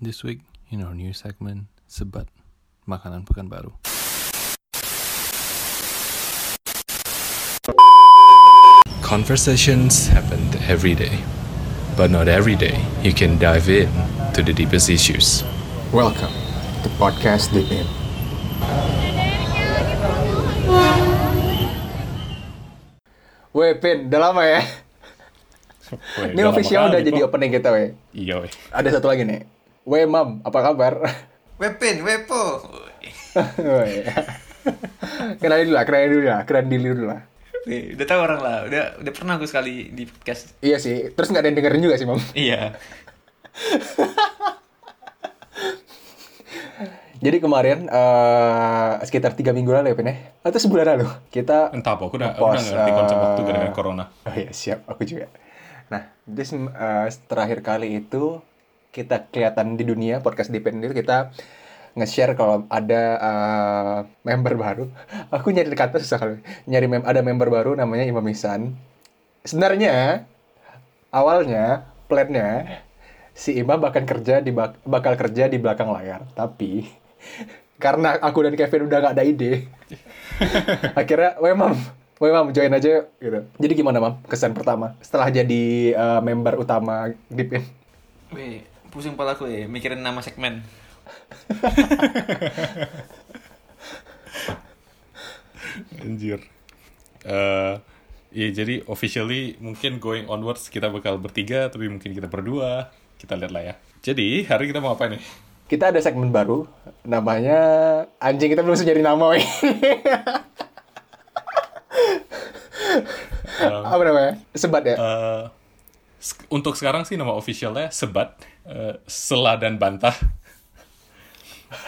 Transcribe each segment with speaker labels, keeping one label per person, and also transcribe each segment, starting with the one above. Speaker 1: This week in our new segment, Sebat Makanan Pekanbaru.
Speaker 2: Conversations happen every day, but not every day you can dive in to the deepest issues.
Speaker 3: Welcome to Podcast Deep In. Weh, Pin, udah lama ya?
Speaker 2: Eh,
Speaker 3: Ini official udah jadi opening kita, weh.
Speaker 2: Iya, weh.
Speaker 3: Ada satu lagi nih. Weh, Mam, apa kabar?
Speaker 4: Wepin, wepo.
Speaker 3: Weh. kenalin dulu lah, kenalin dulu lah, kenalin diri dulu lah.
Speaker 4: Wih, udah tahu orang lah, udah udah pernah gue sekali di podcast.
Speaker 3: Iya sih, terus nggak ada yang dengerin juga sih, Mam.
Speaker 4: Iya.
Speaker 3: Jadi kemarin, eh sekitar tiga minggu lalu ya, Pin ya? Atau sebulan lalu, kita...
Speaker 2: Entah apa, aku udah, aku
Speaker 3: Pos,
Speaker 2: udah nggak ngerti konsep
Speaker 3: eh,
Speaker 2: waktu gara-gara corona.
Speaker 3: Oh iya, siap. Aku juga. Nah, jadi sem- eh, terakhir kali itu kita kelihatan di dunia podcast Depend itu kita nge-share kalau ada eh, member baru. Aku nyari kata susah kalau nyari mem ada member baru namanya Imam Ihsan. Sebenarnya awalnya plannya si Imam bahkan kerja di bak- bakal kerja di belakang layar, tapi karena aku dan Kevin udah nggak ada ide, akhirnya weh mam weh mam join aja yuk," gitu jadi gimana mam kesan pertama setelah jadi uh, member utama Dipin
Speaker 4: Wih, pusing kepala aku ya, mikirin nama segmen.
Speaker 2: Anjir. Eh, ya, jadi officially mungkin going onwards kita bakal bertiga, tapi mungkin kita berdua. Kita lihat lah ya. Jadi, hari kita mau apa nih?
Speaker 3: kita ada segmen baru namanya anjing kita belum jadi nama weh apa namanya sebat ya
Speaker 2: Oh. Eh, sek- untuk sekarang sih nama officialnya Sebat, eh, Sela dan Bantah.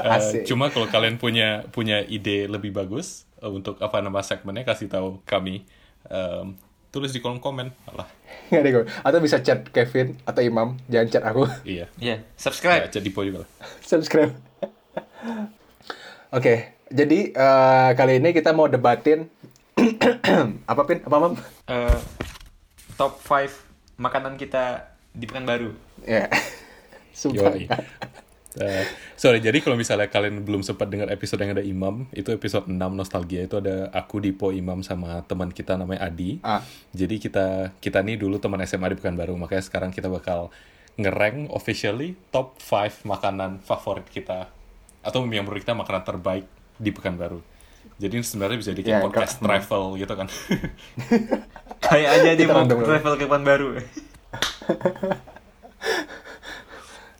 Speaker 2: Eh,
Speaker 3: Asik.
Speaker 2: cuma kalau kalian punya punya ide lebih bagus eh, untuk apa nama segmennya kasih tahu kami. Em, tulis di kolom komen. Alah,
Speaker 3: nggak ada gue atau bisa chat Kevin atau Imam jangan chat aku
Speaker 2: iya.
Speaker 4: Iya,
Speaker 2: Ya,
Speaker 4: subscribe.
Speaker 2: jadi po juga lah.
Speaker 3: subscribe oke jadi eh, kali ini kita mau debatin apa pin apa mam
Speaker 4: Eh, top 5 makanan kita di Pekanbaru.
Speaker 3: ya Sumpah.
Speaker 2: Yoi. Eh, sorry, jadi kalau misalnya kalian belum sempat dengar episode yang ada Imam, itu episode 6 Nostalgia, itu ada aku, Dipo, Imam, sama teman kita namanya Adi.
Speaker 3: Ah.
Speaker 2: Jadi kita kita nih dulu teman SMA di Pekanbaru, makanya sekarang kita bakal ngereng officially top 5 makanan favorit kita. Atau yang menurut kita makanan terbaik di Pekanbaru. Jadi sebenarnya bisa
Speaker 3: Ya,
Speaker 2: bikin podcast
Speaker 3: enggak.
Speaker 2: travel gitu kan.
Speaker 4: Kayak aja dia
Speaker 3: Kita
Speaker 4: mau
Speaker 3: random,
Speaker 4: travel ke Pekanbaru.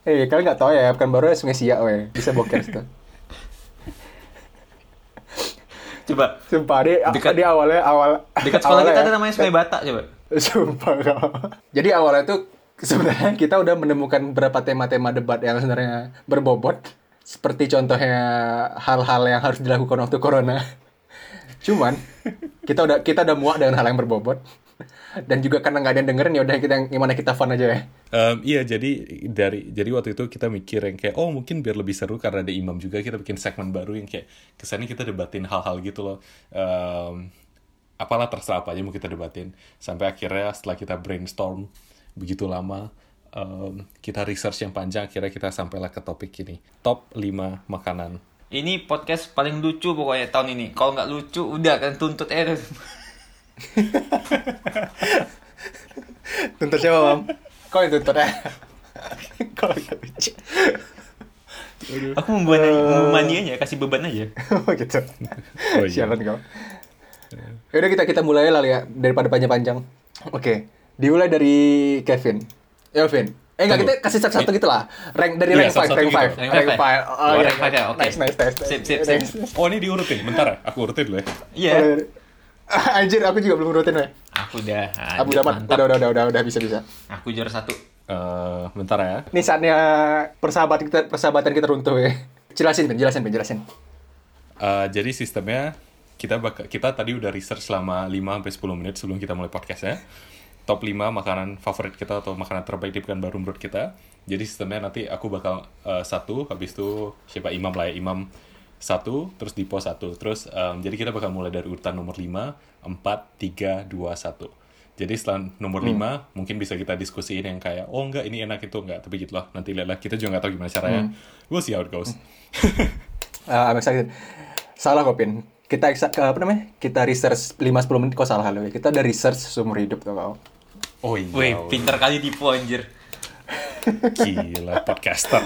Speaker 3: Eh, kalian nggak tahu ya, bukan baru ya Sungai Siak, weh. Bisa boker situ.
Speaker 4: Coba
Speaker 3: Sumpah, dia,
Speaker 4: Dekat-
Speaker 3: dia awalnya, awal...
Speaker 4: dekat sekolah
Speaker 3: awalnya
Speaker 4: kita ada
Speaker 3: ya.
Speaker 4: namanya Sungai Batak coba.
Speaker 3: Sumpah, kau. Jadi awalnya tuh, sebenarnya kita udah menemukan beberapa tema-tema debat yang sebenarnya berbobot. Seperti contohnya hal-hal yang harus dilakukan waktu corona. Cuman, kita udah kita udah muak dengan hal yang berbobot. Dan juga karena nggak ada yang dengerin, ya udah kita gimana kita fun aja ya.
Speaker 2: Em, iya jadi dari jadi waktu itu kita mikir yang kayak oh mungkin biar lebih seru karena ada imam juga kita bikin segmen baru yang kayak kesannya kita debatin hal-hal gitu loh Em, apalah terserah apa aja mau kita debatin sampai akhirnya setelah kita brainstorm begitu lama em, kita research yang panjang akhirnya kita sampailah ke topik ini top 5 makanan
Speaker 4: Ini podcast paling lucu pokoknya tahun ini. Kalau nggak lucu udah kan tuntut eh.
Speaker 3: Tuntut siapa, Mam? Kau yang tuntut, eh? Kau yang tuntut.
Speaker 4: Aku membuat manianya kasih beban aja.
Speaker 3: Oh, gitu.
Speaker 2: Oh, iya.
Speaker 3: Sialan kau. Yaudah kita kita mulai lah ya daripada panjang-panjang. Oke, dimulai dari Kevin. Elvin. Eh enggak kita
Speaker 2: Tunggu.
Speaker 3: kasih satu-satu gitu lah. Rank dari
Speaker 2: Iya,
Speaker 3: rank 5,
Speaker 2: satu-satu
Speaker 3: rank
Speaker 2: gitu.
Speaker 3: 5,
Speaker 4: Rank
Speaker 3: rank
Speaker 4: five.
Speaker 3: 5.
Speaker 4: Oh, rank five ya, oke.
Speaker 3: iya. Nice, nice, nice.
Speaker 4: Sip,
Speaker 3: nice.
Speaker 4: sip, sip.
Speaker 3: Nice.
Speaker 2: oh ini diurutin bentar ya aku urutin dulu ya
Speaker 4: Iya.
Speaker 3: Ah, Anjir, aku juga belum rutin, weh.
Speaker 4: Aku udah.
Speaker 3: Aku udah amat.
Speaker 4: mantap.
Speaker 3: Udah, udah, udah, udah, udah, bisa, bisa.
Speaker 4: Aku juara satu.
Speaker 2: Eh, bentar ya
Speaker 3: Ini saatnya persahabatan kita, persahabatan kita runtuh, ya. Jelasin, Vin, jelasin, Vin, jelasin.
Speaker 2: Uh, jadi sistemnya kita baka- kita tadi udah research selama 5 sampai 10 menit sebelum kita mulai podcastnya. Top 5 makanan favorit kita atau makanan terbaik di Pekanbaru menurut kita. Jadi sistemnya nanti aku bakal uh, satu, habis itu siapa Imam lah ya, Imam satu, terus Dipo satu. Terus um, jadi kita bakal mulai dari urutan nomor 5, 4, 3, 2, 1. Jadi setelah nomor 5 mungkin bisa kita diskusiin yang kayak oh enggak ini enak itu enggak tapi gitu loh nanti lihatlah kita juga nggak tahu gimana caranya. We'll see how it goes.
Speaker 3: Uh, I'm excited. Salah kok, Pin. Kita exa- ke- apa namanya? Kita research 5-10 menit kok salah lu. Kita ada research seumur hidup tuh kau.
Speaker 2: Oh iya.
Speaker 4: Wih, pinter kali tipu anjir.
Speaker 2: Gila podcaster.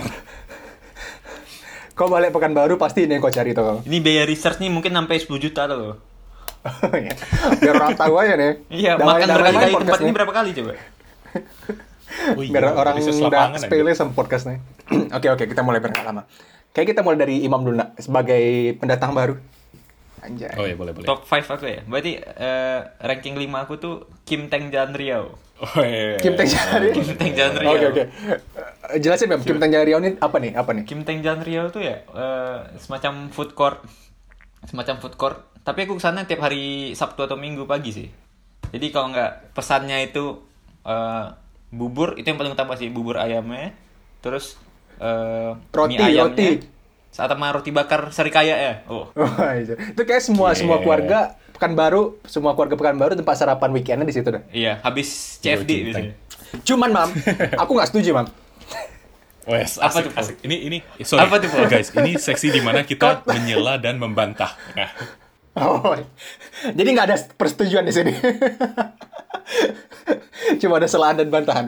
Speaker 3: Kau balik pekan baru pasti ini yang kau cari tuh kau.
Speaker 4: Ini biaya research nih mungkin sampai 10 juta loh.
Speaker 3: Iya. Biar orang tahu aja nih.
Speaker 4: Iya,
Speaker 3: Damai-
Speaker 4: makan
Speaker 3: damai
Speaker 4: berkali-kali
Speaker 3: podcast ya?
Speaker 4: tempat ini
Speaker 3: nih.
Speaker 4: berapa kali coba?
Speaker 2: Oh iya,
Speaker 3: Biar orang
Speaker 2: research
Speaker 3: udah
Speaker 2: lapangan,
Speaker 3: sepele
Speaker 2: anjir.
Speaker 3: sama podcast nih. Oke oke, kita mulai berangkat lama. Kayak kita mulai dari Imam dulu nak, sebagai pendatang baru. Anjay.
Speaker 2: Oh iya boleh boleh.
Speaker 4: Top 5 aku ya. Berarti eh, ranking 5 aku tuh Kim Teng Jalan Riau.
Speaker 2: Oh, iya, iya,
Speaker 3: Kim Teng
Speaker 2: iya.
Speaker 3: Jari.
Speaker 4: Kim Teng Jalan Riau.
Speaker 3: Oke oke. Eh, Jelasin Bang, Kim Teng Jari ini apa nih? Apa nih?
Speaker 4: Kim Teng Jalan Riau tuh ya eh, semacam food court. Semacam food court. Tapi aku kesana tiap hari Sabtu atau Minggu pagi sih. Jadi kalau nggak pesannya itu eh, bubur, itu yang paling utama sih. Bubur ayamnya. Terus eh,
Speaker 3: Roti,
Speaker 4: mie ayamnya.
Speaker 3: roti.
Speaker 4: Saat sama roti bakar serikaya ya. Oh.
Speaker 3: Oh, iya. itu kayak semua semua
Speaker 2: Yeah.
Speaker 3: keluarga Pekanbaru, semua keluarga Pekanbaru tempat sarapan weekendnya di situ dah.
Speaker 4: Iya, habis
Speaker 2: Yo,
Speaker 4: CFD
Speaker 2: Kim
Speaker 4: biasanya.
Speaker 3: Cuman mam, aku nggak setuju mam.
Speaker 2: Wes,
Speaker 4: Apa
Speaker 2: apa
Speaker 4: tuh,
Speaker 2: tuh? Oh,
Speaker 4: Paul?
Speaker 2: Asik. Ini ini sorry.
Speaker 4: Apa tuh, Paul?
Speaker 2: guys, ini seksi di mana kita menyela dan membantah. Nah,
Speaker 3: Oh, jadi nggak ada persetujuan di sini. Cuma ada selaan dan bantahan.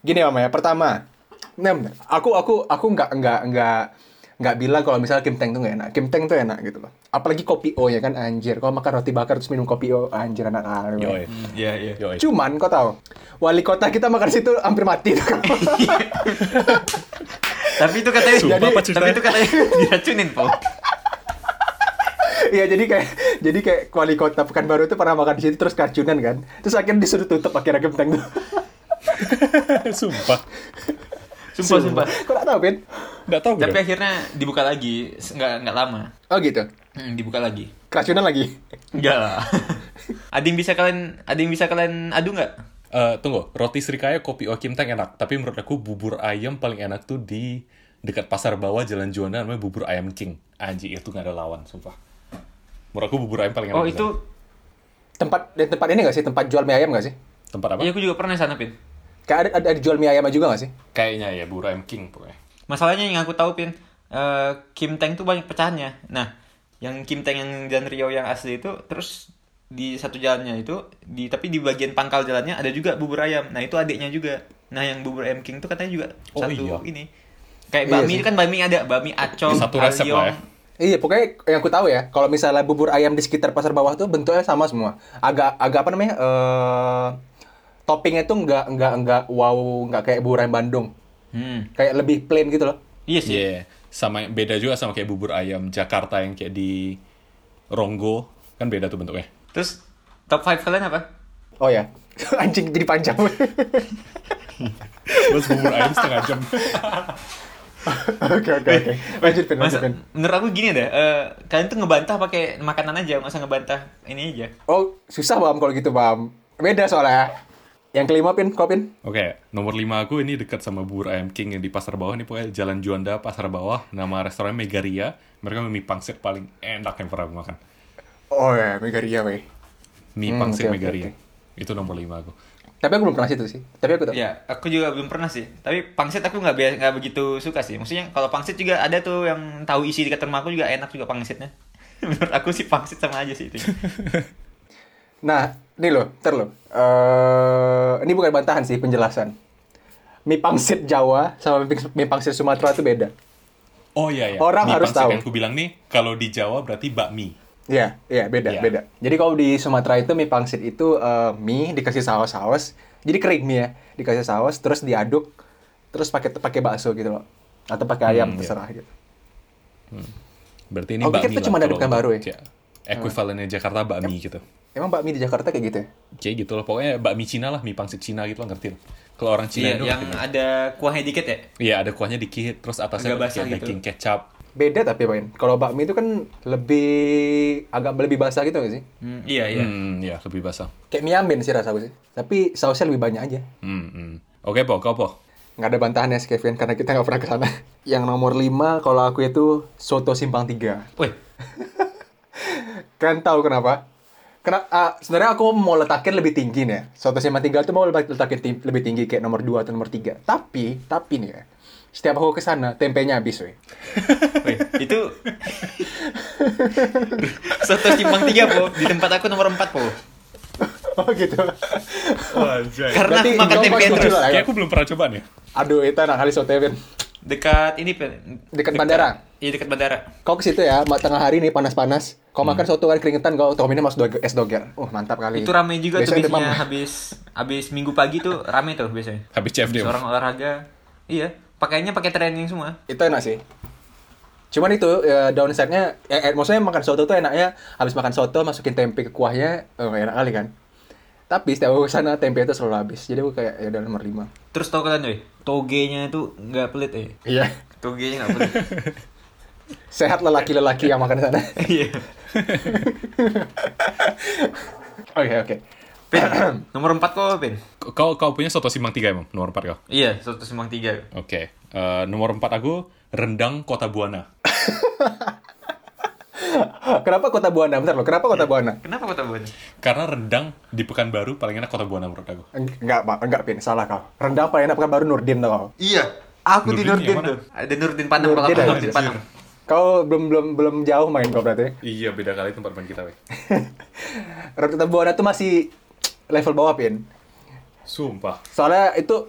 Speaker 3: Gini mam ya, pertama, nem, aku aku aku nggak nggak nggak nggak bilang kalau misalnya Kim Teng tuh nggak enak. Kim Teng tuh enak gitu loh. Apalagi kopi O ya kan anjir. Kalau makan roti bakar terus minum kopi O anjir anak anak.
Speaker 2: yoi.
Speaker 4: Iya, iya.
Speaker 2: Yoi.
Speaker 3: Cuman kau tahu, wali kota kita makan situ hampir mati. tuh, Kak.
Speaker 4: tapi itu katanya
Speaker 2: Sumpah,
Speaker 4: jadi-
Speaker 2: Pak Cipta.
Speaker 4: tapi itu katanya diracunin po
Speaker 3: Iya jadi kayak jadi kayak wali kota Pekanbaru itu pernah makan di situ terus keracunan kan. Terus akhirnya disuruh tutup akhirnya genteng tuh.
Speaker 2: Sumpah.
Speaker 4: sumpah sumpah
Speaker 3: Kau nggak tahu Pin?
Speaker 2: Nggak tahu
Speaker 4: tapi
Speaker 2: gue.
Speaker 4: akhirnya dibuka lagi S- nggak nggak lama
Speaker 3: Oh gitu.
Speaker 4: Hmm, dibuka lagi
Speaker 3: Keracunan lagi.
Speaker 4: enggak lah ada yang bisa kalian ada yang bisa kalian adu nggak
Speaker 2: Eh, tunggu, roti Srikaya kopi O Kim Teng enak, tapi menurut aku bubur ayam paling enak tuh di dekat pasar bawah Jalan Juanda namanya bubur ayam King. Anjing itu nggak ada lawan, sumpah. Menurut aku bubur ayam paling enak.
Speaker 4: oh
Speaker 2: di
Speaker 4: itu
Speaker 2: sana.
Speaker 3: Tempat dan tempat ini nggak sih tempat jual mie ayam nggak sih?
Speaker 2: tempat apa?
Speaker 4: iya aku juga pernah sana pin
Speaker 3: Kayak ada, ada, ada jual mie ayam juga nggak sih?
Speaker 2: Kayaknya ya bubur ayam King pokoknya.
Speaker 4: masalahnya yang aku tahu pin eh, Kim Teng tuh banyak pecahannya nah yang Kim Teng yang dan Rio yang asli itu terus di satu jalannya itu di tapi di bagian pangkal jalannya ada juga bubur ayam nah itu adiknya juga nah yang bubur ayam king tuh katanya juga
Speaker 2: Oh,
Speaker 4: satu
Speaker 2: iya.
Speaker 4: ini kayak
Speaker 3: Iya
Speaker 4: bakmi
Speaker 3: sih.
Speaker 4: itu kan bakmi ada bakmi acong
Speaker 2: Satu resep lah ya.
Speaker 4: alyong.
Speaker 3: Iya, pokoknya yang aku tahu ya, kalau misalnya bubur ayam di sekitar pasar bawah tuh bentuknya sama semua. Agak agak apa namanya? eh toppingnya tuh nggak nggak nggak wow, nggak kayak bubur ayam Bandung.
Speaker 4: hmm
Speaker 3: Kayak lebih plain gitu loh.
Speaker 4: iya sih
Speaker 2: Iya, sama beda juga sama kayak bubur ayam Jakarta yang kayak di Ronggo kan beda tuh bentuknya.
Speaker 4: terus top 5 kalian apa
Speaker 3: Oh ya. Anjing jadi panjang.
Speaker 2: Terus bubur ayam setengah jam.
Speaker 3: Oke oke oke. Lanjut pin, lanjut
Speaker 4: Masa,
Speaker 3: pin.
Speaker 4: menurut aku gini deh eh, kalian tuh ngebantah pakai makanan aja masa ngebantah ini aja
Speaker 3: Oh susah bam kalau gitu bam. Beda soalnya. Yang kelima pin, kau pin.
Speaker 2: Oke, nomor 5 aku ini dekat sama bubur ayam King yang di pasar bawah nih pokoknya Jalan Juanda pasar bawah nama restoran Megaria. Mereka mie pangsit paling enak yang pernah aku makan.
Speaker 3: Oh ya, Megaria weh.
Speaker 2: Mie
Speaker 3: Hmm,
Speaker 2: pangsit
Speaker 3: oke, oke,
Speaker 2: Megaria.
Speaker 3: oke.
Speaker 2: Itu nomor 5 aku.
Speaker 3: Tapi aku belum pernah situ sih. Tapi aku tahu.
Speaker 4: Ya, aku juga belum pernah sih. Tapi pangsit aku nggak be- nggak begitu suka sih. Maksudnya kalau pangsit juga ada tuh yang tahu isi dekat rumah aku juga enak juga pangsitnya. Menurut aku sih pangsit sama aja sih itu.
Speaker 3: Nah, ini loh, ter loh. Eh, ini bukan bantahan sih, penjelasan. Mie pangsit Jawa sama mie, pang- mie pangsit Sumatera itu beda.
Speaker 2: Oh iya ya.
Speaker 3: Orang
Speaker 2: mie
Speaker 3: harus
Speaker 2: pangsit
Speaker 3: tahu.
Speaker 2: yang aku bilang nih kalau di Jawa berarti bakmi.
Speaker 3: Iya, iya beda,
Speaker 2: Iya.
Speaker 3: beda. Jadi kalau di Sumatera itu mie pangsit itu eh, mie dikasih saus-saus, jadi kering mie ya, dikasih saus terus diaduk, terus pakai pakai bakso gitu loh, atau pakai ayam terserah gitu.
Speaker 2: Berarti ini
Speaker 3: Oh, pikir
Speaker 2: bakmi.
Speaker 3: itu cuma ada
Speaker 2: lah kalau
Speaker 3: bukan baru ya?
Speaker 2: untuk- Ekuivalennya Iya. Jakarta bakmi gitu.
Speaker 3: Emang bakmi di Jakarta kayak gitu ya?
Speaker 2: Kayak gitu loh, pokoknya bakmi Cina lah, mie pangsit Cina gitu loh, ngerti loh. Kalau orang Cina
Speaker 4: Iya,
Speaker 2: itu
Speaker 4: yang
Speaker 2: ngerti loh.
Speaker 4: ada kuahnya dikit ya.
Speaker 2: Iya, ada kuahnya dikit, terus atasnya
Speaker 4: Agak basah
Speaker 2: pakai
Speaker 4: gitu.
Speaker 2: daging kecap.
Speaker 3: Beda tapi Pak. Kalau bakmi itu kan lebih agak lebih basah gitu gak sih?
Speaker 4: Hmm, iya, iya.
Speaker 2: Hmm, ya lebih basah.
Speaker 3: Kayak mie amben sih rasa gue sih. Tapi sausnya lebih banyak aja.
Speaker 2: Hmm, hmm. Oke, Po, kau, Po.
Speaker 3: Nggak ada bantahan ya si Kevin karena kita nggak pernah ke sana. Yang nomor 5 kalau aku itu soto simpang 3.
Speaker 4: Weh,
Speaker 3: Kan tahu kenapa? Karena ah, sebenarnya aku mau letakin lebih tinggi nih. ya. Soto Sema 3 itu mau letak- letakin tim- lebih tinggi kayak nomor 2 atau nomor 3. Tapi, tapi nih ya. Setiap aku ke sana, tempenya habis, weh.
Speaker 4: Weh, itu soto simpang tiga po di tempat aku nomor empat po
Speaker 3: oh gitu.
Speaker 2: Wajah.
Speaker 4: Karena
Speaker 3: Berarti
Speaker 4: makan
Speaker 3: Indo
Speaker 4: tempe
Speaker 3: paling
Speaker 4: terus.
Speaker 3: kecil lah ya.
Speaker 2: Kayak aku belum pernah coba nih.
Speaker 3: Aduh, itu anak kali soto Ben.
Speaker 4: dekat ini Pen.
Speaker 3: Dekat bandara.
Speaker 4: iya dekat bandara
Speaker 3: Kau ke situ ya, ma- tengah hari nih panas-panas. Kau makan soto kan keringetan, kau tominnya masuk doge- es doger. Uh, mantap kali.
Speaker 4: Hmm. itu rame juga
Speaker 3: Besok
Speaker 4: tuh
Speaker 3: demam.
Speaker 4: biasanya habis habis minggu pagi tuh rame tuh biasanya
Speaker 2: Habis CFD.
Speaker 4: seorang olahraga iya pakainya pakai training semua
Speaker 3: Itu enak sih. Cuman itu ya, downside-nya, eh, eh, maksudnya makan soto tuh enaknya habis makan soto masukin tempe ke kuahnya, oh, enak kali kan. Tapi setiap aku kesana tempe itu selalu habis. Jadi aku kayak ya udah nomor 5.
Speaker 4: terus tau kalian weh togenya itu nggak pelit eh
Speaker 3: Iya.
Speaker 4: togenya nggak pelit
Speaker 3: Sehat lelaki-lelaki yang makan di sana.
Speaker 4: iya
Speaker 3: Oke, oke.
Speaker 4: Pen, nomor empat kok Pen
Speaker 2: Kau kau punya soto simang tiga emang nomor empat kau.
Speaker 4: iya soto simpang tiga
Speaker 2: Oke. Eh, nomor empat aku rendang Kota Buana.
Speaker 3: Kenapa Kota Buana? Bentar loh, kenapa
Speaker 4: Iya.
Speaker 3: Kota Buana?
Speaker 4: kenapa kota buat
Speaker 2: Karena rendang di Pekanbaru paling enak Kota Buana menurut aku.
Speaker 3: Enggak, Pak. Enggak, Pin. Salah kau. Rendang paling enak kan baru Nurdin tau kau.
Speaker 4: Iya, aku
Speaker 2: Nurdin
Speaker 4: di Nurdin
Speaker 2: yang mana?
Speaker 4: tuh. Ada Nurdin Panam kalau
Speaker 3: Nurdin
Speaker 4: aku
Speaker 3: ada,
Speaker 4: Nurdin
Speaker 3: anjir.
Speaker 4: Panam.
Speaker 3: Kau belum belum belum jauh main kau berarti.
Speaker 2: Iya beda kali tempat main kita. Weh.
Speaker 3: Roti Buana tuh masih level bawah pin.
Speaker 2: Sumpah.
Speaker 3: Soalnya itu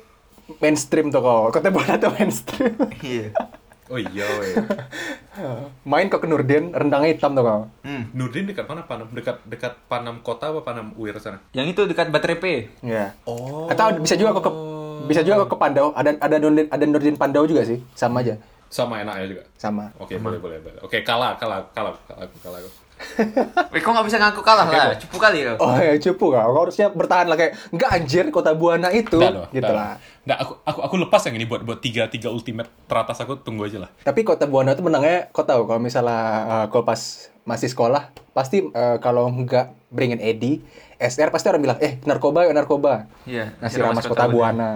Speaker 3: mainstream tuh kau. Kota Buana tuh mainstream.
Speaker 4: Iya.
Speaker 2: Oh iya weh.
Speaker 3: main kau ke Nurdin, rendangnya hitam tuh kau.
Speaker 4: Hmm.
Speaker 2: Nurdin dekat mana Panam? Dekat dekat Panam Kota apa Panam Uir sana?
Speaker 4: Yang itu dekat Baterai P.
Speaker 3: Iya.
Speaker 2: Oh.
Speaker 3: Atau bisa juga kau ke bisa juga kau ke Pandau. Ada ada Nurdin ada Nurdin Pandau juga sih. Sama aja.
Speaker 2: Sama enaknya juga.
Speaker 3: Sama.
Speaker 2: Oke, boleh, boleh, boleh. Oke, kalah, kalah, kalah, kalah, aku, kalah. aku.
Speaker 4: Weh, kok nggak bisa ngaku kalah lah? Cupu kali kau.
Speaker 3: Oh ya cupu kau. Kau harusnya bertahan lah kayak enggak anjir Kota Buana itu.
Speaker 2: Nggak loh,
Speaker 3: gitu
Speaker 2: nggak
Speaker 3: lah.
Speaker 2: loh. Nggak, aku, aku, aku lepas yang ini buat buat tiga, tiga ultimate teratas aku tunggu aja lah.
Speaker 3: Tapi Kota Buana tuh menangnya, kau tahu kalau misalnya uh, kau pas masih sekolah, pasti uh, kalau nggak beringin Edi, SR pasti orang bilang, eh narkoba ya narkoba.
Speaker 4: Iya,
Speaker 3: Nasi
Speaker 4: nasi
Speaker 3: ramas
Speaker 4: ramas
Speaker 3: Kota
Speaker 4: Kota
Speaker 3: Buana.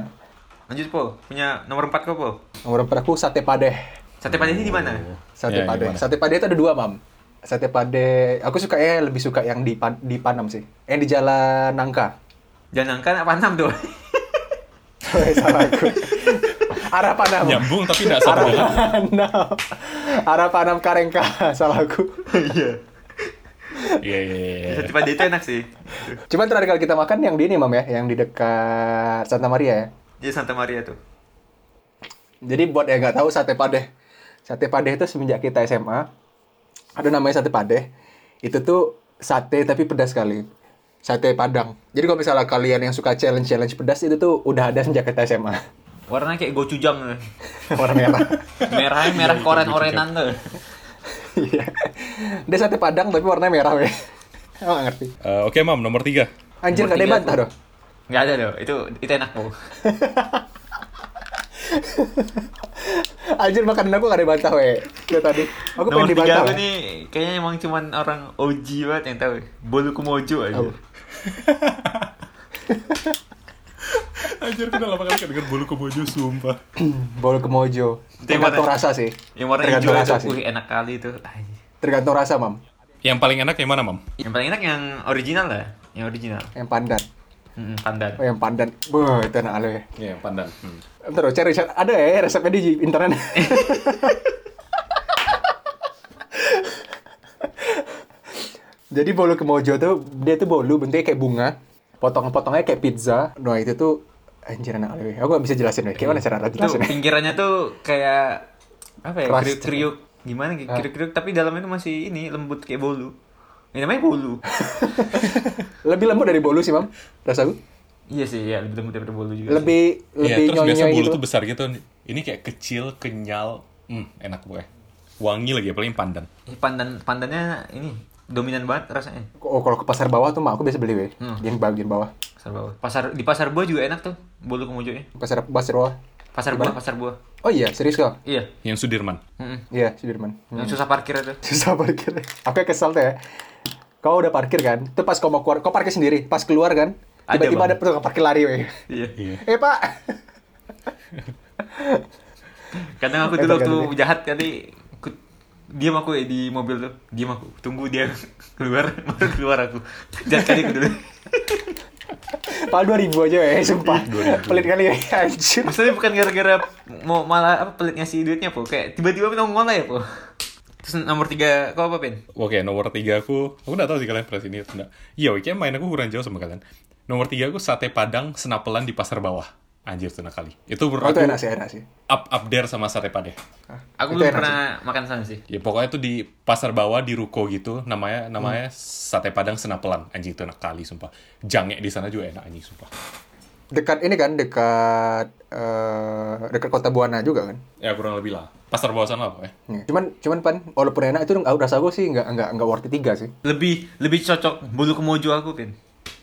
Speaker 4: Lanjut po, punya nomor 4 kau po.
Speaker 3: Nomor berapa aku "Uh, sate padeh.
Speaker 4: Sate padeh ini di mana?
Speaker 3: Sate
Speaker 2: Ya,
Speaker 3: padeh.
Speaker 2: gimana?
Speaker 3: Sate padeh itu ada dua, Mam. Sate padeh, aku suka ya lebih suka yang di, Pan- di Panam sih. Yang di Jalan Nangka.
Speaker 4: Jangan kan apa enam tuh?
Speaker 3: Weh, Salah aku. Arah Panam.
Speaker 2: Nyambung tapi nggak satu
Speaker 3: Arah
Speaker 2: jalan.
Speaker 3: Panam. Arah Panam Karengka. Salah aku.
Speaker 4: Iya.
Speaker 2: Iya, iya, iya.
Speaker 4: Sate padeh itu enak sih.
Speaker 3: Cuman terakhir kali kita makan yang di ini, Mam ya, yang di dekat Santa Maria ya.
Speaker 4: Dia Santa Maria tuh.
Speaker 3: Jadi buat yang nggak tahu sate padeh. Sate padeh itu semenjak kita SMA ada namanya sate padeh. Itu tuh sate tapi pedas sekali. Sate Padang. Jadi kalau misalnya kalian yang suka challenge-challenge pedas itu tuh udah ada sejak kita SMA.
Speaker 4: Warnanya kayak gochujang. tuh.
Speaker 3: Warna merah.
Speaker 4: Merahnya merah koren-orenan tuh.
Speaker 3: Iya. Dia sate Padang tapi warnanya merah ya. Aku nggak ngerti.
Speaker 2: Eh, Oke, Mam, nomor tiga.
Speaker 3: Anjir
Speaker 4: Nomor
Speaker 3: nggak ada yang
Speaker 4: tiga.
Speaker 3: bantah dong.
Speaker 4: Nggak ada loh, itu itu enak po.
Speaker 3: Anjir makanan aku nggak ada yang bantah weh. Udah tadi. Aku
Speaker 4: nomor
Speaker 3: pengen dibantah.
Speaker 4: 3 aku
Speaker 3: weh.
Speaker 4: nih kayaknya emang cuman orang OG banget yang tahu. Bolu Kumojo aja.
Speaker 3: Apa?
Speaker 2: Anjir, aku udah lama kali nggak denger bolu kebojo, sumpah.
Speaker 3: Bol kemojo.
Speaker 4: Itu yang
Speaker 3: Tergantung
Speaker 4: warna-
Speaker 3: rasa sih.
Speaker 4: Yang warna
Speaker 3: Tergantung
Speaker 4: hijau itu,
Speaker 3: rasa sih.
Speaker 4: wih, enak kali itu. Ay.
Speaker 3: Tergantung rasa, Mam.
Speaker 2: Yang paling enak yang mana, Mam?
Speaker 4: Yang paling enak yang original lah, yang original.
Speaker 3: Yang pandan.
Speaker 4: Mm-mm, pandan.
Speaker 3: Oh, yang pandan. Wah, itu enak lo ya.
Speaker 2: Iya, yang pandan.
Speaker 3: Bentar, oh, cari, cari. Ada ya resepnya di internet. Jadi bolu kemojo tuh, dia tuh bolu bentuknya kayak bunga. Potong-potongnya kayak pizza. Nah, itu tuh anjir enak lo ya. Aku gak bisa jelasin weh. Gimana cara
Speaker 4: Itu
Speaker 3: jelasin ya?
Speaker 4: pinggirannya tuh kayak apa ya?
Speaker 3: Keras. Ah.
Speaker 4: Kriuk-kriuk. Gimana kayak kriuk-kriuk tapi dalamnya tuh masih ini lembut kayak bolu. Ini namanya bolu.
Speaker 3: Lebih lembut dari bolu sih, Mam. Rasa gue.
Speaker 4: iya sih, ya lebih lembut daripada bolu juga. sih.
Speaker 3: Lebih
Speaker 2: Iya,
Speaker 3: lebih
Speaker 2: terus biasa
Speaker 3: nyonya
Speaker 2: bolu
Speaker 3: gitu.
Speaker 2: tuh besar gitu. Ini kayak kecil, kenyal. Hmm, enak pokoknya. Wangi lagi, paling pandan.
Speaker 4: Eh, pandan pandannya ini dominan banget rasanya.
Speaker 3: Oh, kalau ke pasar bawah tuh mah aku biasa beli weh.
Speaker 4: Hmm.
Speaker 3: Yang bagian bawah.
Speaker 4: Pasar bawah. Pasar di pasar buah juga enak tuh bolu kemojonya.
Speaker 3: Pasar pasar bawah.
Speaker 4: Pasar buah, pasar buah.
Speaker 3: Oh iya, serius kok.
Speaker 4: Iya.
Speaker 2: Yang Sudirman.
Speaker 4: Mm-mm.
Speaker 3: Iya, Sudirman.
Speaker 4: Yang susah parkir itu.
Speaker 3: susah parkir aku yang kesel tuh ya kau udah parkir kan itu pas kau mau keluar kau parkir sendiri pas keluar kan
Speaker 4: Ada,
Speaker 3: tiba-tiba
Speaker 4: Bang.
Speaker 3: ada tukang parkir lari weh
Speaker 4: Iya.
Speaker 2: Iya.
Speaker 3: eh pak
Speaker 4: Kadang
Speaker 3: Eh,
Speaker 4: aku dulu
Speaker 3: bagian
Speaker 4: waktu
Speaker 3: ini.
Speaker 4: jahat kali ku- diam aku ya di mobil tuh diam aku tunggu dia keluar baru keluar aku jangan kali aku dulu
Speaker 3: Padahal dua ribu aja
Speaker 4: Iya,
Speaker 3: ya, sumpah. Pelit kali ya, anjir.
Speaker 4: maksudnya bukan gara-gara mau malah apa pelit ngasih duitnya po kayak tiba-tiba nongol aja po terus nomor tiga kau apa pin
Speaker 2: Oke, nomor tiga aku, aku nggak tahu sih kalian press ini atau nggak. Iya, oke, main aku kurang jauh sama kalian. Nomor tiga aku sate padang senapelan di pasar bawah. Anjir, itu kali. Itu
Speaker 3: Oh,
Speaker 2: menurut
Speaker 3: itu
Speaker 2: aku
Speaker 3: enak sih, enak sih.
Speaker 2: up up there sama sate padeh.
Speaker 4: aku
Speaker 3: Itu
Speaker 4: belum
Speaker 3: enak
Speaker 4: pernah makan sana sih
Speaker 2: Ya pokoknya itu di pasar bawah di ruko gitu, namanya namanya
Speaker 3: Hmm.
Speaker 2: sate padang senapelan. Anjir, itu enak kali, sumpah. Jange di sana juga enak anjing, sumpah.
Speaker 3: Dekat ini kan, dekat eh, dekat kota Buana juga kan.
Speaker 2: Ya kurang lebih lah. Pasar bawah sana lah pokoknya.
Speaker 3: Iya. Cuman cuman pan walaupun enak itu nggak rasa gue sih nggak nggak nggak worth it tiga sih.
Speaker 4: lebih lebih cocok bulu kemojo aku pin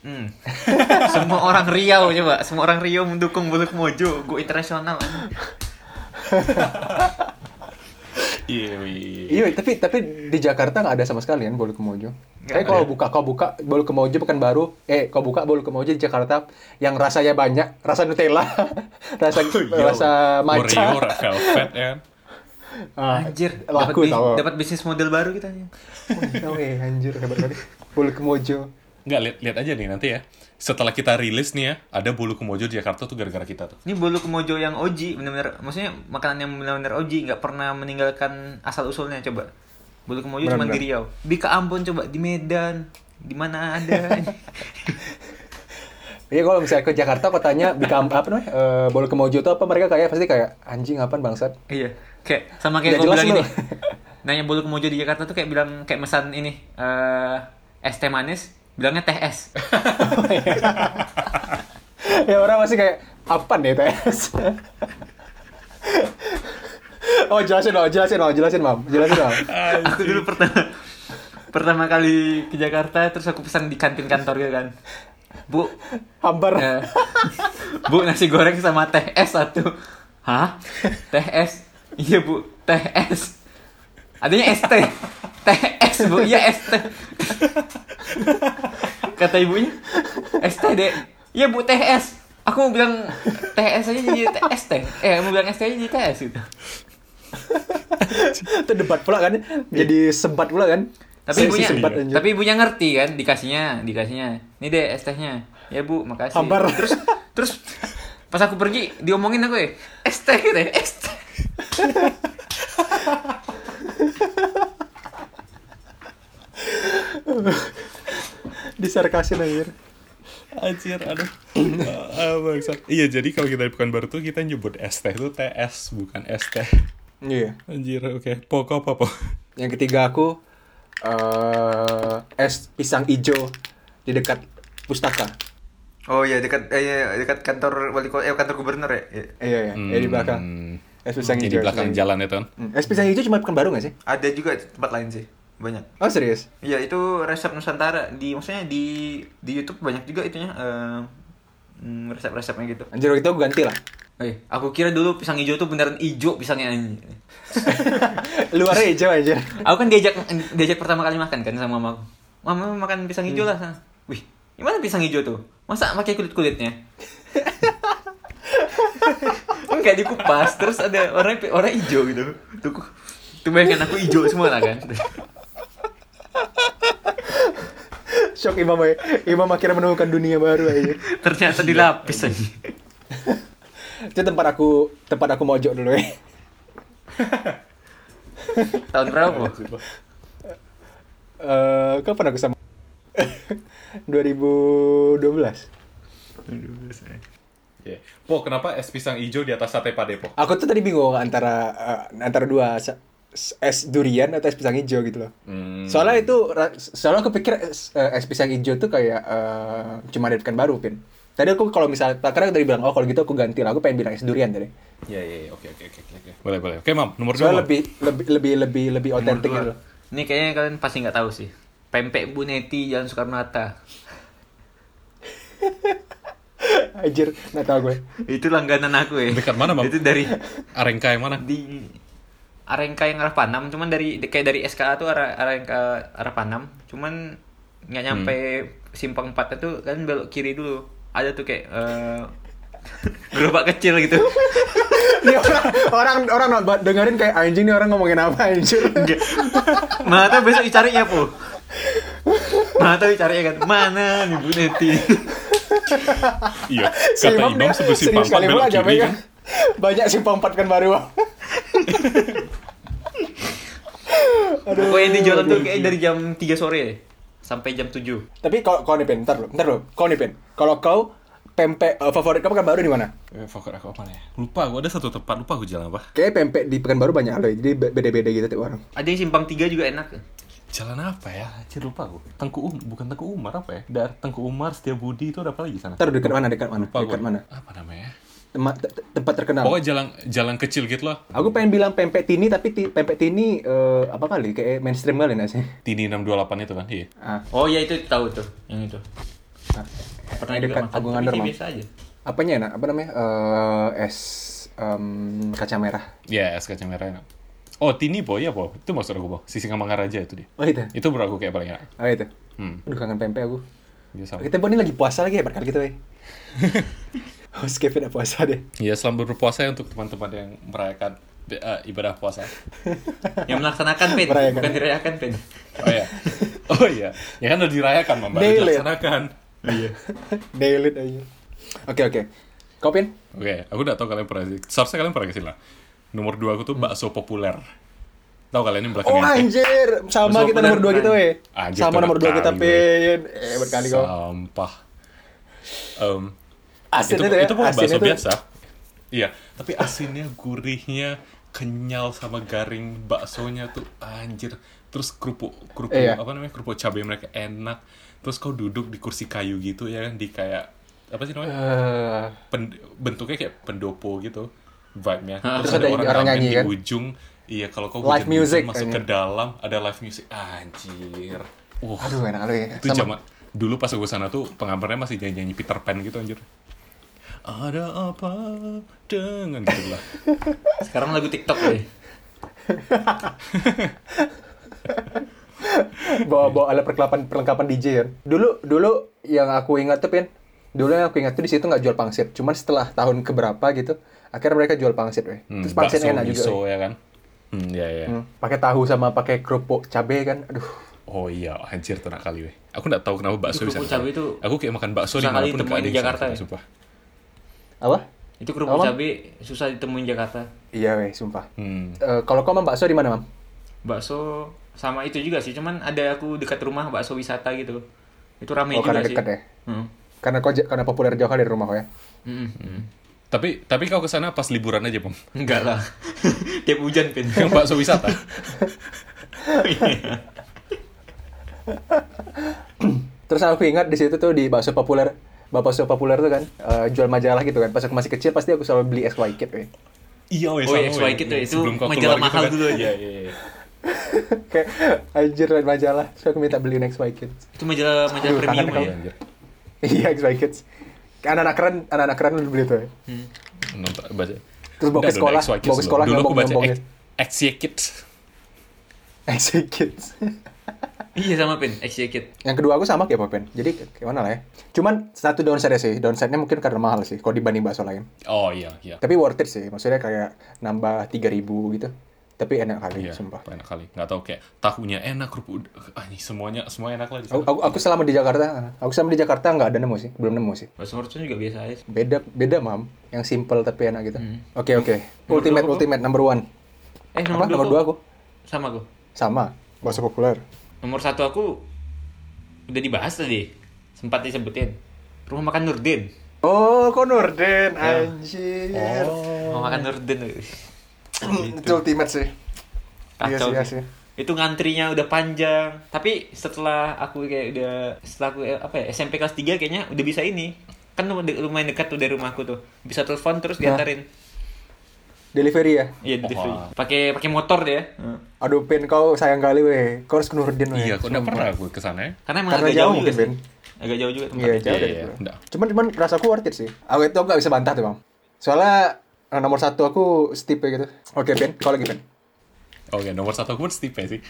Speaker 4: hmm. semua orang Riau coba semua orang Riau mendukung bulu kemojo go internasional
Speaker 2: Iya, iya, iya.
Speaker 3: Iya, tapi tapi di Jakarta nggak ada sama sekali kan bolu kemojo. Tapi kalau buka kau buka bolu kemojo bukan baru, eh kau buka bolu kemojo di Jakarta yang rasanya banyak, rasa Nutella, rasa
Speaker 2: Yo,
Speaker 3: rasa
Speaker 2: Oreo,
Speaker 3: matcha.
Speaker 2: red velvet, ya. kan?
Speaker 3: Ah,
Speaker 4: anjir dapat
Speaker 3: laku
Speaker 4: bis-
Speaker 3: tau.
Speaker 4: dapat bisnis model baru kita nih
Speaker 3: Oh, eh, anjir hebat kali. Bolu kemojo.
Speaker 2: Nggak, lihat lihat aja nih nanti ya. Setelah kita rilis nih ya, ada bulu kemojo di Jakarta tuh gara-gara kita tuh.
Speaker 4: Ini bolu kemojo yang oji, bener-bener, maksudnya makanan yang bener-bener oji, nggak pernah meninggalkan asal usulnya coba. Bolu kemojo cuma di Riau, di ke Ambon coba, di Medan, di mana ada.
Speaker 3: Iya kalau misalnya ke Jakarta kotanya di kamp apa namanya? Eh, bolu kemojo itu apa mereka kayak pasti kayak anjing apaan bangsat.
Speaker 4: iya, kayak sama
Speaker 3: Nggak
Speaker 4: kayak gue
Speaker 3: jelas
Speaker 4: bilang
Speaker 3: lu.
Speaker 4: ini. Nanya bolu kemojo di Jakarta tuh kayak bilang kayak mesan ini eh es teh manis, bilangnya teh es.
Speaker 3: ya orang masih kayak apa nih TS oh jelasin oh jelasin oh jelasin mam jelasin mam
Speaker 4: aku dulu pertama pertama kali ke Jakarta terus aku pesan di kantin kantor gitu kan. Bu,
Speaker 3: hambar
Speaker 4: Eh, Ya. bu nasi goreng sama teh es satu. Hah? Teh es? Iya bu, teh es. Adanya es teh. Teh es bu, iya es teh. Kata ibunya, es teh dek. Iya bu, teh es. Aku mau bilang teh es aja jadi teh es teh. Eh, mau bilang es teh aja jadi teh es gitu.
Speaker 3: itu debat pula kan jadi sebat pula kan
Speaker 4: Tapi ibunya,
Speaker 3: sebat anjir.
Speaker 4: tapi ibunya ngerti kan, dikasihnya, dikasihnya. Ini deh es tehnya. Ya bu, makasih.
Speaker 3: Hambar.
Speaker 4: Terus, terus pas aku pergi diomongin aku ya, es teh gitu ya, es teh.
Speaker 3: disarkasin anjir
Speaker 2: Anjir, aduh. Ah, ah, bangsat. Iya, jadi kalau kita bukan baru tuh kita nyebut es teh tuh TS bukan es teh.
Speaker 3: iya
Speaker 2: Anjir, oke. Pokok apa, po?
Speaker 3: yang ketiga aku eh es pisang ijo di dekat pustaka
Speaker 4: Oh iya dekat eh, iya, dekat kantor wali kota eh kantor gubernur ya. Iya.
Speaker 3: iya iya eh, di belakang es pisang ijo
Speaker 2: Yang Hmm. di
Speaker 3: es
Speaker 2: belakang
Speaker 3: pisang
Speaker 2: jalan ya, Ton.
Speaker 3: ijo. Hmm, es pisang ijo cuma bukan baru nggak sih
Speaker 4: Ada juga tempat lain sih, banyak.
Speaker 3: oh serius
Speaker 4: Iya itu resep Nusantara di maksudnya di di YouTube banyak juga itunya eh, hmm, resep-resepnya gitu.
Speaker 3: anjir waktu itu aku ganti lah
Speaker 4: Eh, aku kira dulu pisang hijau tuh beneran hijau pisangnya anjing.
Speaker 3: luarnya ijo anjir
Speaker 4: Aku kan diajak diajak pertama kali makan kan sama mamaku. Mama makan pisang hijau lah. sana." Wih, gimana pisang hijau tuh? Masa pakai kulit-kulitnya? Enggak dikupas, terus ada orang orang hijau gitu. Tuh, ku- tuh bayangkan aku hijau semua lah kan.
Speaker 3: shock imam ya. imam akhirnya menemukan dunia baru aja
Speaker 4: Ternyata dilapis aja.
Speaker 3: itu tempat aku tempat aku mojok dulu ya
Speaker 4: Tahun berapa?
Speaker 3: Eh, kapan aku sama 2012
Speaker 2: Iya. Po, kenapa es pisang ijo di atas sate pade, po?
Speaker 3: aku tuh tadi bingung antara eh, antara dua sa- s- es durian atau es pisang hijau gitu loh
Speaker 2: Hmm.
Speaker 3: soalnya itu ra- soalnya aku pikir es, eh, es pisang hijau tuh kayak eh, cuma ada kan baru pin tadi aku kalau misalnya karena aku tadi bilang oh kalau gitu aku ganti lah aku pengen bilang es durian tadi
Speaker 2: Iya, iya, iya. Oke, oke, oke, oke, oke. Boleh, boleh. Oke, Mam, nomor dua,
Speaker 3: soalnya
Speaker 2: Mam.
Speaker 3: lebih lebih lebih lebih lebih otentik gitu loh
Speaker 4: Ini kayaknya kalian pasti nggak tahu sih. Pempek Bu Neti Jalan Soekarno Hatta.
Speaker 3: Anjir, nggak tahu gue
Speaker 4: Itu langganan aku ya.
Speaker 2: Dekat mana, Mam?
Speaker 4: Itu dari
Speaker 2: Arengka yang mana?
Speaker 4: di Arengka yang arah Panam, cuman dari kayak dari SKA tuh arah Arengka arah Panam, cuman Hmm. nggak nyampe simpang 4 itu kan belok kiri dulu. Ada tuh kayak eh, gerobak kecil gitu
Speaker 3: Ini orang orang orang nonton dengerin kayak anjing nih orang ngomongin apa anjir.
Speaker 4: mana tahu besok dicari ya po mana tahu dicari ya kan mana nih Bu Neti
Speaker 2: Iya, kata Imam sebelum simpang empat belok kiri kan.
Speaker 3: Banyak simpang empat kan baru.
Speaker 4: pokoknya di jalan tuh kayak dari jam 3 sore ya sampai jam 7
Speaker 3: Tapi kalau kau nih Pin, ntar lu, ntar lu, kau nih Pin. Kalau kau pempek eh, favorit kamu kan baru di mana?
Speaker 2: Eh, Fokker aku apa ya? Lupa, gue ada satu tempat, lupa gue jalan apa.
Speaker 3: Kayaknya pempek di Pekanbaru banyak loh, jadi be- beda-beda gitu tiap orang.
Speaker 4: ada yang simpang 3 juga enak
Speaker 2: Jalan apa ya? Anjir lupa gue. Tengku Um, bukan Tengku Umar apa ya? Dar Tengku Umar, Setia Budi itu ada apa lagi sana?
Speaker 3: Ntar dekat mana, dekat mana,
Speaker 2: Lupa
Speaker 3: dekat
Speaker 2: gua.
Speaker 3: mana.
Speaker 2: Apa namanya?
Speaker 3: Tema- te- te- tempat terkenal.
Speaker 2: Pokoknya jalan jalan kecil gitu loh.
Speaker 3: Aku pengen bilang pempek tini tapi ti- pempek tini eh, apa kali kayak mainstream kali nggak sih?
Speaker 2: Tini 628 itu kan, iya.
Speaker 3: Ah,
Speaker 4: oh ya itu tahu tuh yang itu
Speaker 3: ah.
Speaker 4: pernah
Speaker 3: Yang
Speaker 4: juga
Speaker 3: dekat
Speaker 4: makan
Speaker 3: Agung
Speaker 4: tapi
Speaker 3: Underman.
Speaker 4: biasa aja
Speaker 3: Apanya enak? Apa namanya? Eh, es em, kaca merah.
Speaker 2: Ya, es kacang merah enak. Oh, Tini po, iya po. Itu maksud aku po. Sisi Kamangaraja aja itu dia.
Speaker 3: Oh itu.
Speaker 2: Itu menurut aku kayak paling enak.
Speaker 3: Oh itu.
Speaker 2: Hmm, Oh.
Speaker 3: Aduh kangen pempek aku.
Speaker 2: dia sama.
Speaker 3: Kita buat ini lagi puasa lagi ya berkali kita, weh. Haus Kevin udah puasa deh.
Speaker 2: Ya, selamat berpuasa ya untuk teman-teman yang merayakan eh, ibadah puasa.
Speaker 4: yang melaksanakan pen
Speaker 3: Merayakan.
Speaker 4: bukan dirayakan pen
Speaker 2: Oh iya. Oh iya. Ya kan udah dirayakan, Mam. Baru
Speaker 3: Daily.
Speaker 2: dilaksanakan. Iya.
Speaker 3: Daily aja. Oke oke. Kau Pin?
Speaker 2: Oke, aku udah tahu kalian pernah Seharusnya kalian pernah kesini lah. Nomor dua aku tuh bakso populer. Tahu kalian ini
Speaker 3: Oh
Speaker 2: belakangan ini?
Speaker 3: anjir, sama
Speaker 4: Masuk
Speaker 3: kita nomor dua
Speaker 4: beneran.
Speaker 3: kita weh.
Speaker 2: Anjir,
Speaker 3: Sama nomor dua
Speaker 2: berkali,
Speaker 3: kita Pin. Eh berkali kau.
Speaker 2: Sampah. Em, itu,
Speaker 3: Asin itu ya.
Speaker 2: itu bukan
Speaker 3: asin
Speaker 2: bakso
Speaker 3: itu.
Speaker 2: biasa. Iya, tapi asinnya, gurihnya, kenyal sama garing baksonya tuh anjir. Terus kerupuk kerupuk
Speaker 3: Iya.
Speaker 2: apa namanya? kerupuk cabai mereka enak. Terus kau duduk di kursi kayu gitu ya kan di kayak apa sih namanya?
Speaker 3: Eh,
Speaker 2: Pen- bentuknya kayak pendopo gitu vibe-nya.
Speaker 3: Terus ada orang
Speaker 2: ngamen
Speaker 3: nyanyi,
Speaker 2: di
Speaker 3: kan?
Speaker 2: ujung. Iya, kalau kau
Speaker 3: Live
Speaker 2: hujan-hujan
Speaker 3: music
Speaker 2: masuk
Speaker 3: kayaknya.
Speaker 2: ke dalam ada live music. Anjir. Wah,
Speaker 3: aduh enak lu ya.
Speaker 2: itu zaman dulu pas gue sana tuh pengamarnya masih nyanyi-nyanyi Peter Pan gitu anjir. Ada apa dengan gitu lah.
Speaker 4: sekarang lagu TikTok deh
Speaker 3: bawa bawa alat perlengkapan perlengkapan DJ ya. Dulu dulu yang aku ingat tuh pin, dulu yang aku ingat tuh di situ nggak jual pangsit. Cuman setelah tahun keberapa gitu, akhirnya mereka jual pangsit weh.
Speaker 2: Hmm,
Speaker 3: Terus pangsitnya enak juga.
Speaker 2: miso
Speaker 3: weh.
Speaker 2: ya kan. Hmm, ya ya.
Speaker 3: Hmm, pakai tahu sama pakai kerupuk cabe kan. Aduh.
Speaker 2: Oh iya, anjir tuh enak kali weh. Aku nggak tahu kenapa bakso bisa.
Speaker 4: Kerupuk
Speaker 2: enak
Speaker 4: cabai
Speaker 2: kali.
Speaker 4: itu
Speaker 2: aku kayak makan bakso
Speaker 4: susah kali
Speaker 2: dimanapun nggak ada
Speaker 4: ditemuin di
Speaker 2: yang sama
Speaker 4: Jakarta
Speaker 2: kita,
Speaker 4: ya.
Speaker 2: sumpah.
Speaker 3: Apa?
Speaker 4: itu kerupuk
Speaker 3: Apa?
Speaker 4: cabai susah ditemuin Jakarta
Speaker 3: Iya weh, sumpah.
Speaker 2: Hmm.
Speaker 3: Eh, kalau kau mam bakso di mana mam?
Speaker 4: bakso sama itu juga sih cuman ada aku dekat rumah bakso wisata gitu itu ramai
Speaker 3: Oh karena
Speaker 4: juga sih Hmm.
Speaker 3: dekat ya.
Speaker 4: Heeh.
Speaker 3: Karena kau j- karena populer jauh kali dari rumah kau ya.
Speaker 4: Mm-mm.
Speaker 2: Tapi tapi kau kesana pas liburan aja, Pom.
Speaker 4: Hmm. enggak lah tiap hujan pin
Speaker 2: Yang bakso wisata.
Speaker 4: iya.
Speaker 3: Terus aku ingat di situ tuh di bakso populer bakso populer tuh kan eh, jual majalah gitu kan. Pas aku masih kecil pasti aku selalu beli SY Kid weh.
Speaker 2: Iya, weh,
Speaker 4: Oh,
Speaker 2: sama,
Speaker 4: iya,
Speaker 2: weh.
Speaker 4: sesuai gitu, itu
Speaker 2: Sebelum kau keluar
Speaker 4: majalah
Speaker 2: gitu
Speaker 4: mahal
Speaker 2: kan.
Speaker 4: dulu aja.
Speaker 2: Iya, iya, iya.
Speaker 3: Kayak anjir liat majalah. Terus aku minta beli next Kids.
Speaker 4: itu majalah majalah
Speaker 3: Aduh,
Speaker 4: premium
Speaker 3: kangen
Speaker 4: ya
Speaker 2: Iya, anjir.
Speaker 3: Iya, XY Kids. Anak-anak keren, anak-anak keren udah beli tuh. ya.
Speaker 2: Nonton baca.
Speaker 3: Terus bawa ke
Speaker 2: Nggak, dulu
Speaker 3: sekolah,
Speaker 2: XY
Speaker 3: bawa
Speaker 2: Kids
Speaker 3: ke
Speaker 2: dulu.
Speaker 3: sekolah
Speaker 2: Dulu aku baca
Speaker 3: nyombong-nyombongin.
Speaker 2: Axie Kids.
Speaker 3: XY Kids.
Speaker 4: iya sama pin XJ Kid
Speaker 3: Yang kedua aku sama kayak Popen. Jadi gimana lah ya. Cuman satu downside sih. Downside-nya mungkin karena mahal sih kalau dibanding bakso lain.
Speaker 2: Oh iya, iya.
Speaker 3: Tapi worth it sih. Maksudnya kayak nambah 3000 gitu. Tapi enak kali,
Speaker 2: Iya,
Speaker 3: sumpah.
Speaker 2: enak kali. Nggak tahu kayak tahunya enak, kerupuk ah, ini semuanya semua enak lah di
Speaker 3: Aku,
Speaker 2: sana.
Speaker 3: aku, aku selama di Jakarta, aku selama di Jakarta nggak ada nemu sih, belum nemu sih.
Speaker 4: bakso mercon juga biasa aja sih.
Speaker 3: Beda beda mam, yang simple tapi enak gitu.
Speaker 4: Hmm.
Speaker 3: Oke oke, ultimate ultimate number one.
Speaker 4: eh
Speaker 3: Apa
Speaker 4: nomor dua,
Speaker 3: nomor dua aku?
Speaker 4: sama aku
Speaker 3: Sama, bakso populer.
Speaker 4: nomor satu aku udah dibahas tadi sempat disebutin rumah makan Nurdin
Speaker 3: Oh, kok Norden, anjir.
Speaker 4: rumah makan Nurdin weh.
Speaker 3: itu ultimate sih. Iya sih,
Speaker 4: Kacau
Speaker 3: iya
Speaker 4: sih.
Speaker 3: sih.
Speaker 4: itu ngantrinya udah panjang tapi setelah aku kayak udah setelah aku eh, apa ya SMP kelas 3 kayaknya udah bisa ini kan lu- de- lumayan dekat tuh dari rumahku tuh bisa telepon terus
Speaker 3: Nah.
Speaker 4: diantarin
Speaker 3: Delivery ya?
Speaker 4: iya di delivery
Speaker 2: Wah.
Speaker 4: pakai pakai motor dia
Speaker 3: Aduh, Pin, kau sayang kali, weh. Kau harus ke Nurdin, weh.
Speaker 2: Iya, kok nggak pernah gue kesana ya?
Speaker 4: karena emang
Speaker 3: Karena
Speaker 4: agak
Speaker 3: jauh
Speaker 4: jauh,
Speaker 3: mungkin,
Speaker 4: juga sih.
Speaker 3: Ben.
Speaker 4: agak jauh juga
Speaker 3: Iya,
Speaker 4: tempatnya
Speaker 3: jauh
Speaker 2: Iya,
Speaker 3: dari
Speaker 2: iya,
Speaker 3: gua.
Speaker 2: nggak.
Speaker 3: Cuman, cuman rasaku worth it sih. Aku itu aku nggak bisa bantah tuh, Bang. Soalnya eh, nomor satu aku stipe gitu. Oke, Pin, kau lagi, Pin.
Speaker 2: Oke, Oh, iya, nomor satu aku pun Steve sih.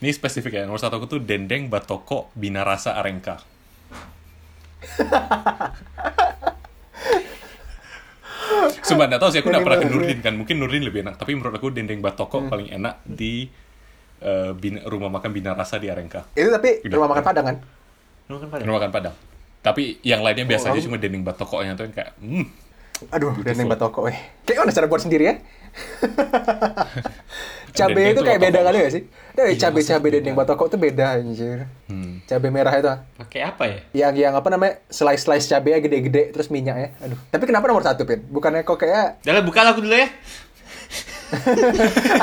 Speaker 2: Ini spesifik ya, nomor satu aku tuh Dendeng Batoko Binarasa Arengka. Sumpah nggak tahu sih, aku nggak pernah ke
Speaker 3: Dendeng
Speaker 2: Nurdin kan. Mungkin Nurdin lebih enak. Tapi menurut aku dendeng batoko paling enak di eh, bin- rumah makan Bina Rasa di Arengka.
Speaker 3: Itu tapi
Speaker 2: Udah.
Speaker 3: rumah makan Padang kan?
Speaker 4: Lu kan pada.
Speaker 2: Rumah makan Padang. Tapi yang lainnya biasanya cuma dendeng batokonya tuh yang kayak, hmm,
Speaker 3: Aduh, dendeng batoko eh. Kayaknya udah cara buat sendiri ya. cabe
Speaker 2: Dendeng
Speaker 3: itu
Speaker 2: tuh
Speaker 3: kayak beda
Speaker 2: batoko.
Speaker 3: kali gak sih? Dari
Speaker 2: Iya,
Speaker 3: cabe-cabe
Speaker 2: maksudnya
Speaker 3: dendeng batoko itu beda anjir.
Speaker 2: Hmm.
Speaker 3: Cabe merah itu.
Speaker 4: Pakai apa ya?
Speaker 3: Yang yang apa namanya? Slice-slice cabenya gede-gede terus minyaknya. Aduh. Tapi kenapa nomor satu, Pin? Bukannya kok kayak
Speaker 4: Udah lah, buka lah aku dulu ya.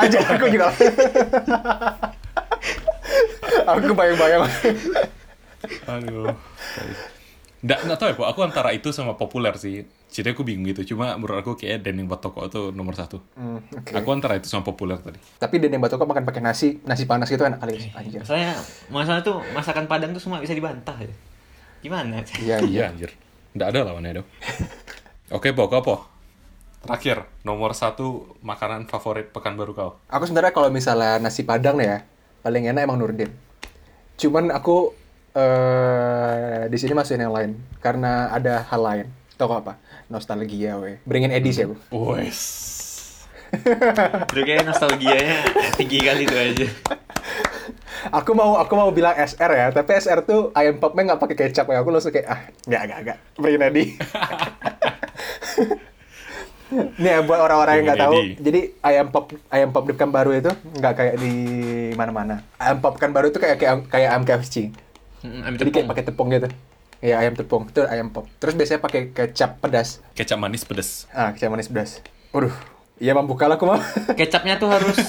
Speaker 3: aja aku juga. aku bayang-bayang.
Speaker 2: Aduh. Nggak, nggak tahu ya, Pak. Aku antara itu sama populer sih. Jadi aku bingung gitu. Cuma menurut aku kayak dendeng batoko itu nomor satu.
Speaker 3: Hmm, oke.
Speaker 2: Aku antara itu sama populer tadi.
Speaker 3: Tapi dendeng batoko makan pakai nasi, nasi panas gitu enak
Speaker 2: Iya,
Speaker 3: kali. Anjir.
Speaker 4: Masalahnya, masalah tuh masakan Padang tuh semua bisa dibantah ya. Gimana?
Speaker 3: Iya, iya.
Speaker 2: Iya, anjir. Nggak ada lawannya dong. Oke, Po. Kau, Po. Terakhir, nomor satu makanan favorit Pekanbaru kau.
Speaker 3: Aku sebenarnya kalau misalnya nasi padang nih ya, paling enak emang Nurdin. Cuman aku eh di sini masukin yang lain karena ada hal lain. Tau gak apa? Nostalgia we. Beringin Edi sih aku.
Speaker 2: Wes.
Speaker 4: Itu kayaknya nostalgianya tinggi kali itu aja.
Speaker 3: Aku mau aku mau bilang SR ya, tapi SR tuh ayam popnya nggak pakai kecap ya. Aku langsung kayak ah, nggak nggak nggak. Beringin Edi. Nih ya, buat orang-orang yang nggak tahu,
Speaker 2: Beringin Edi.
Speaker 3: jadi ayam pop ayam pop dekan baru itu nggak kayak di mana-mana. Ayam pop kan baru itu kayak kayak kayak ayam KFC.
Speaker 4: Hmm, Ambil
Speaker 3: Jadi kayak
Speaker 4: tepung.
Speaker 3: pakai tepung gitu. Iya ayam tepung, itu ayam pop. Terus biasanya pakai kecap pedas.
Speaker 2: Kecap manis pedes.
Speaker 3: Ah, kecap manis pedas. Waduh, iya membuka lah aku mau.
Speaker 4: Kecapnya tuh harus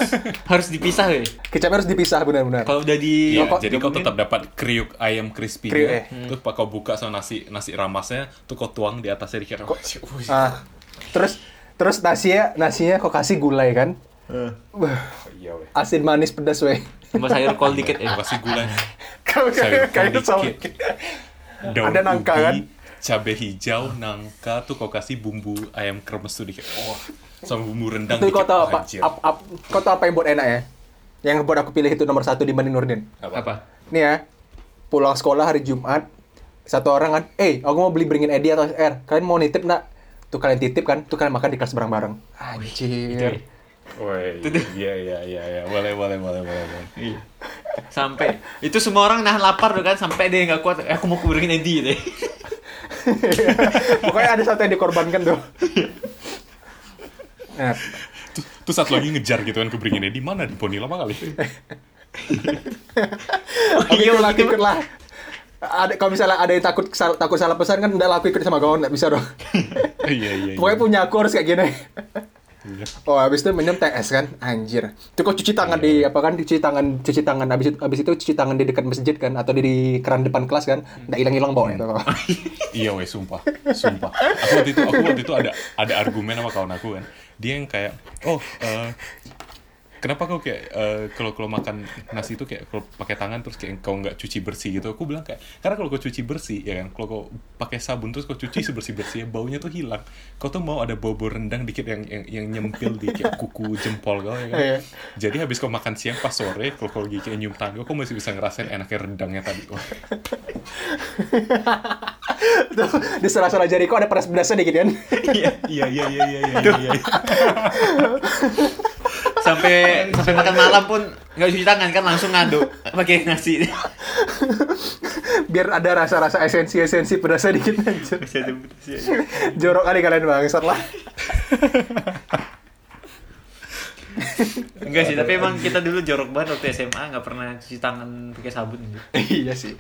Speaker 4: harus dipisah ya.
Speaker 3: Kecapnya harus dipisah benar-benar.
Speaker 4: Kalau udah di
Speaker 2: Iya,
Speaker 3: kok
Speaker 2: jadi kau tetap dapat kriuk ayam crispy
Speaker 3: Kriuk, eh.
Speaker 2: Terus pak kau buka sama nasi nasi ramasnya, tuh kau tuang di atasnya dikira. Wih.
Speaker 3: Ah, terus terus nasinya nasinya kok kasih gulai kan? Wah,
Speaker 2: Iya, weh.
Speaker 3: Asin manis pedas weh.
Speaker 4: tambah sayur kol dikit ya.
Speaker 2: Kasih gula.
Speaker 3: Kayak-
Speaker 2: Sayur
Speaker 3: kayak
Speaker 2: kol
Speaker 3: itu sama-
Speaker 2: dikit. daun
Speaker 3: Ada nangka,
Speaker 2: ubi,
Speaker 3: kan?
Speaker 2: cabe hijau, nangka tuh kau kasih bumbu ayam kremes tuh dikit. Oh, sama bumbu rendang
Speaker 3: Itu kau tahu apa?
Speaker 2: Anjir.
Speaker 3: Ap, ap, kau tahu apa yang buat enak ya? Yang buat aku pilih itu nomor satu dibanding Nurdin.
Speaker 2: Apa?
Speaker 4: Apa?
Speaker 3: Nih ya, pulang sekolah hari Jumat, satu orang kan, eh aku mau beli beringin Edi atau R, kalian mau nitip nak? Tuh kalian titip kan, tuh kalian makan di kelas bareng-bareng. gitu ya. Anjir.
Speaker 2: Woi, iya iya iya iya. Boleh boleh boleh boleh. boleh.
Speaker 4: Sampai itu semua orang nahan lapar tuh kan sampai dia nggak kuat. "Eh, Aku mau kuburin Edi deh.
Speaker 3: Pokoknya ada satu yang dikorbankan tuh. Nah,
Speaker 2: Tuh, tuh satu lagi ngejar gitu kan keberinginnya di mana di Poni lama kali.
Speaker 3: aku
Speaker 4: iya,
Speaker 3: ikut lah, aku
Speaker 4: begitu.
Speaker 3: ikut lah. Ada, kalau misalnya ada yang takut sal- takut salah pesan kan udah lah, aku ikut sama kawan nggak bisa dong.
Speaker 2: Iya iya. iya.
Speaker 3: Pokoknya punya aku harus kayak gini.
Speaker 2: Iya.
Speaker 3: Oh, habis itu minum TS kan, anjir. Itu kok cuci tangan di
Speaker 2: Iya.
Speaker 3: apa kan? Cuci tangan, cuci tangan. Habis itu, habis itu cuci tangan di dekat masjid kan, atau di, di keran depan kelas kan? Nggak hilang-hilang baunya tuh.
Speaker 2: Hmm. Iya weh, sumpah, sumpah. Aku waktu itu, aku waktu itu ada ada argumen sama kawan aku kan. Dia yang kayak, oh, eh, kenapa kau kayak eh, kalau kalau makan nasi itu kayak kalau pakai tangan terus kayak kau nggak cuci bersih gitu. Aku bilang kayak, karena kalau kau cuci bersih ya kan, kalau kau pakai sabun terus kau cuci sebersih bersihnya baunya tuh hilang. Kau tuh mau ada bau-bau rendang dikit yang yang, yang nyempil di kayak kuku jempol kau ya kan.
Speaker 3: Iya.
Speaker 2: Jadi habis kau makan siang pas sore, kalau kau lagi kayak nyium tangan, kau masih bisa ngerasain enaknya rendangnya tadi. Wah,
Speaker 3: Tuh, di sela-sela jariku ada pedas-pedasnya dikit kan?
Speaker 2: Iya iya iya iya iya iya. iya.
Speaker 4: Sampai sampai makan malam pun nggak cuci tangan kan langsung ngaduk pakai nasi.
Speaker 3: Biar ada rasa-rasa esensi-esensi pedasnya dikit anjir. Jorok kali kalian bangsat lah.
Speaker 4: Enggak sih, tapi emang kita dulu jorok banget waktu SMA nggak pernah cuci tangan pakai sabun. gitu.
Speaker 3: iya sih.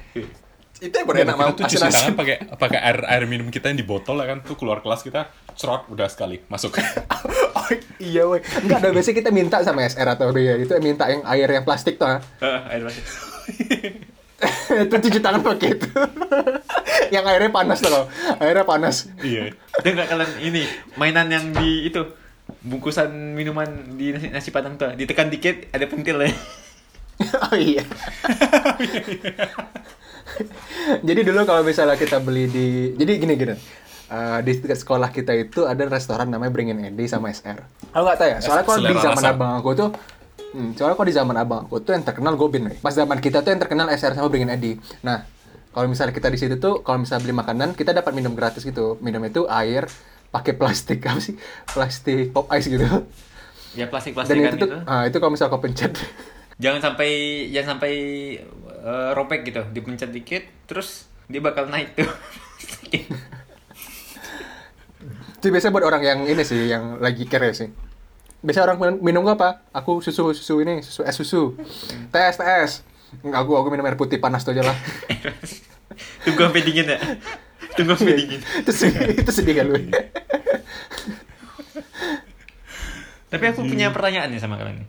Speaker 3: Itu yang
Speaker 2: Iya,
Speaker 3: berenak
Speaker 2: kita
Speaker 3: mau
Speaker 2: tuh cuci tangan
Speaker 3: asin-asin.
Speaker 2: pakai pakai air air minum kita yang di botol ya kan tuh keluar kelas kita cerot udah sekali masuk
Speaker 3: Oh, iya woi. Enggak ada biasanya kita minta sama SR atau dia itu yang minta yang air yang plastik tuh. ah.
Speaker 4: Eh, air masuk.
Speaker 3: itu cuci tangan pakai itu. yang airnya panas tuh. kalau. Airnya panas.
Speaker 2: iya
Speaker 4: Ada nggak kalian ini mainan yang di itu bungkusan minuman di nasi, nasi padang tuh ditekan dikit ada pentil ya.
Speaker 3: oh iya. jadi dulu kalau misalnya kita beli di, jadi gini gini. Eh, di dekat sekolah kita itu ada restoran namanya Bringin Edi sama SR. Aku nggak tahu ya. Soalnya kalau di
Speaker 2: Selera
Speaker 3: zaman
Speaker 2: rasa.
Speaker 3: abang aku tuh, hmm, soalnya kalau di zaman abang aku tuh yang terkenal Gobin. Pas zaman kita tuh yang terkenal SR sama Bringin Edi. Nah, kalau misalnya kita di situ tuh, kalau misalnya beli makanan, kita dapat minum gratis gitu. Minum itu air, pakai plastik apa sih plastik pop ice gitu
Speaker 4: ya plastik
Speaker 3: dan
Speaker 4: plastikan
Speaker 3: itu
Speaker 4: gitu
Speaker 3: tuh ah, itu kalau misal kau pencet
Speaker 4: jangan sampai jangan sampai eh, robek gitu dipencet dikit terus dia bakal naik tuh
Speaker 3: itu biasanya buat orang yang ini sih yang lagi kere sih biasanya orang min- minum apa aku susu susu ini susu es susu tes tes Enggak, aku aku minum air putih panas tuh aja lah
Speaker 4: tunggu sampai dingin ya tunggu sampai
Speaker 3: Iya.
Speaker 2: gitu.
Speaker 4: dingin
Speaker 3: itu sedih itu sedih kan lu
Speaker 2: Iya.
Speaker 4: tapi aku punya pertanyaan nih sama kalian nih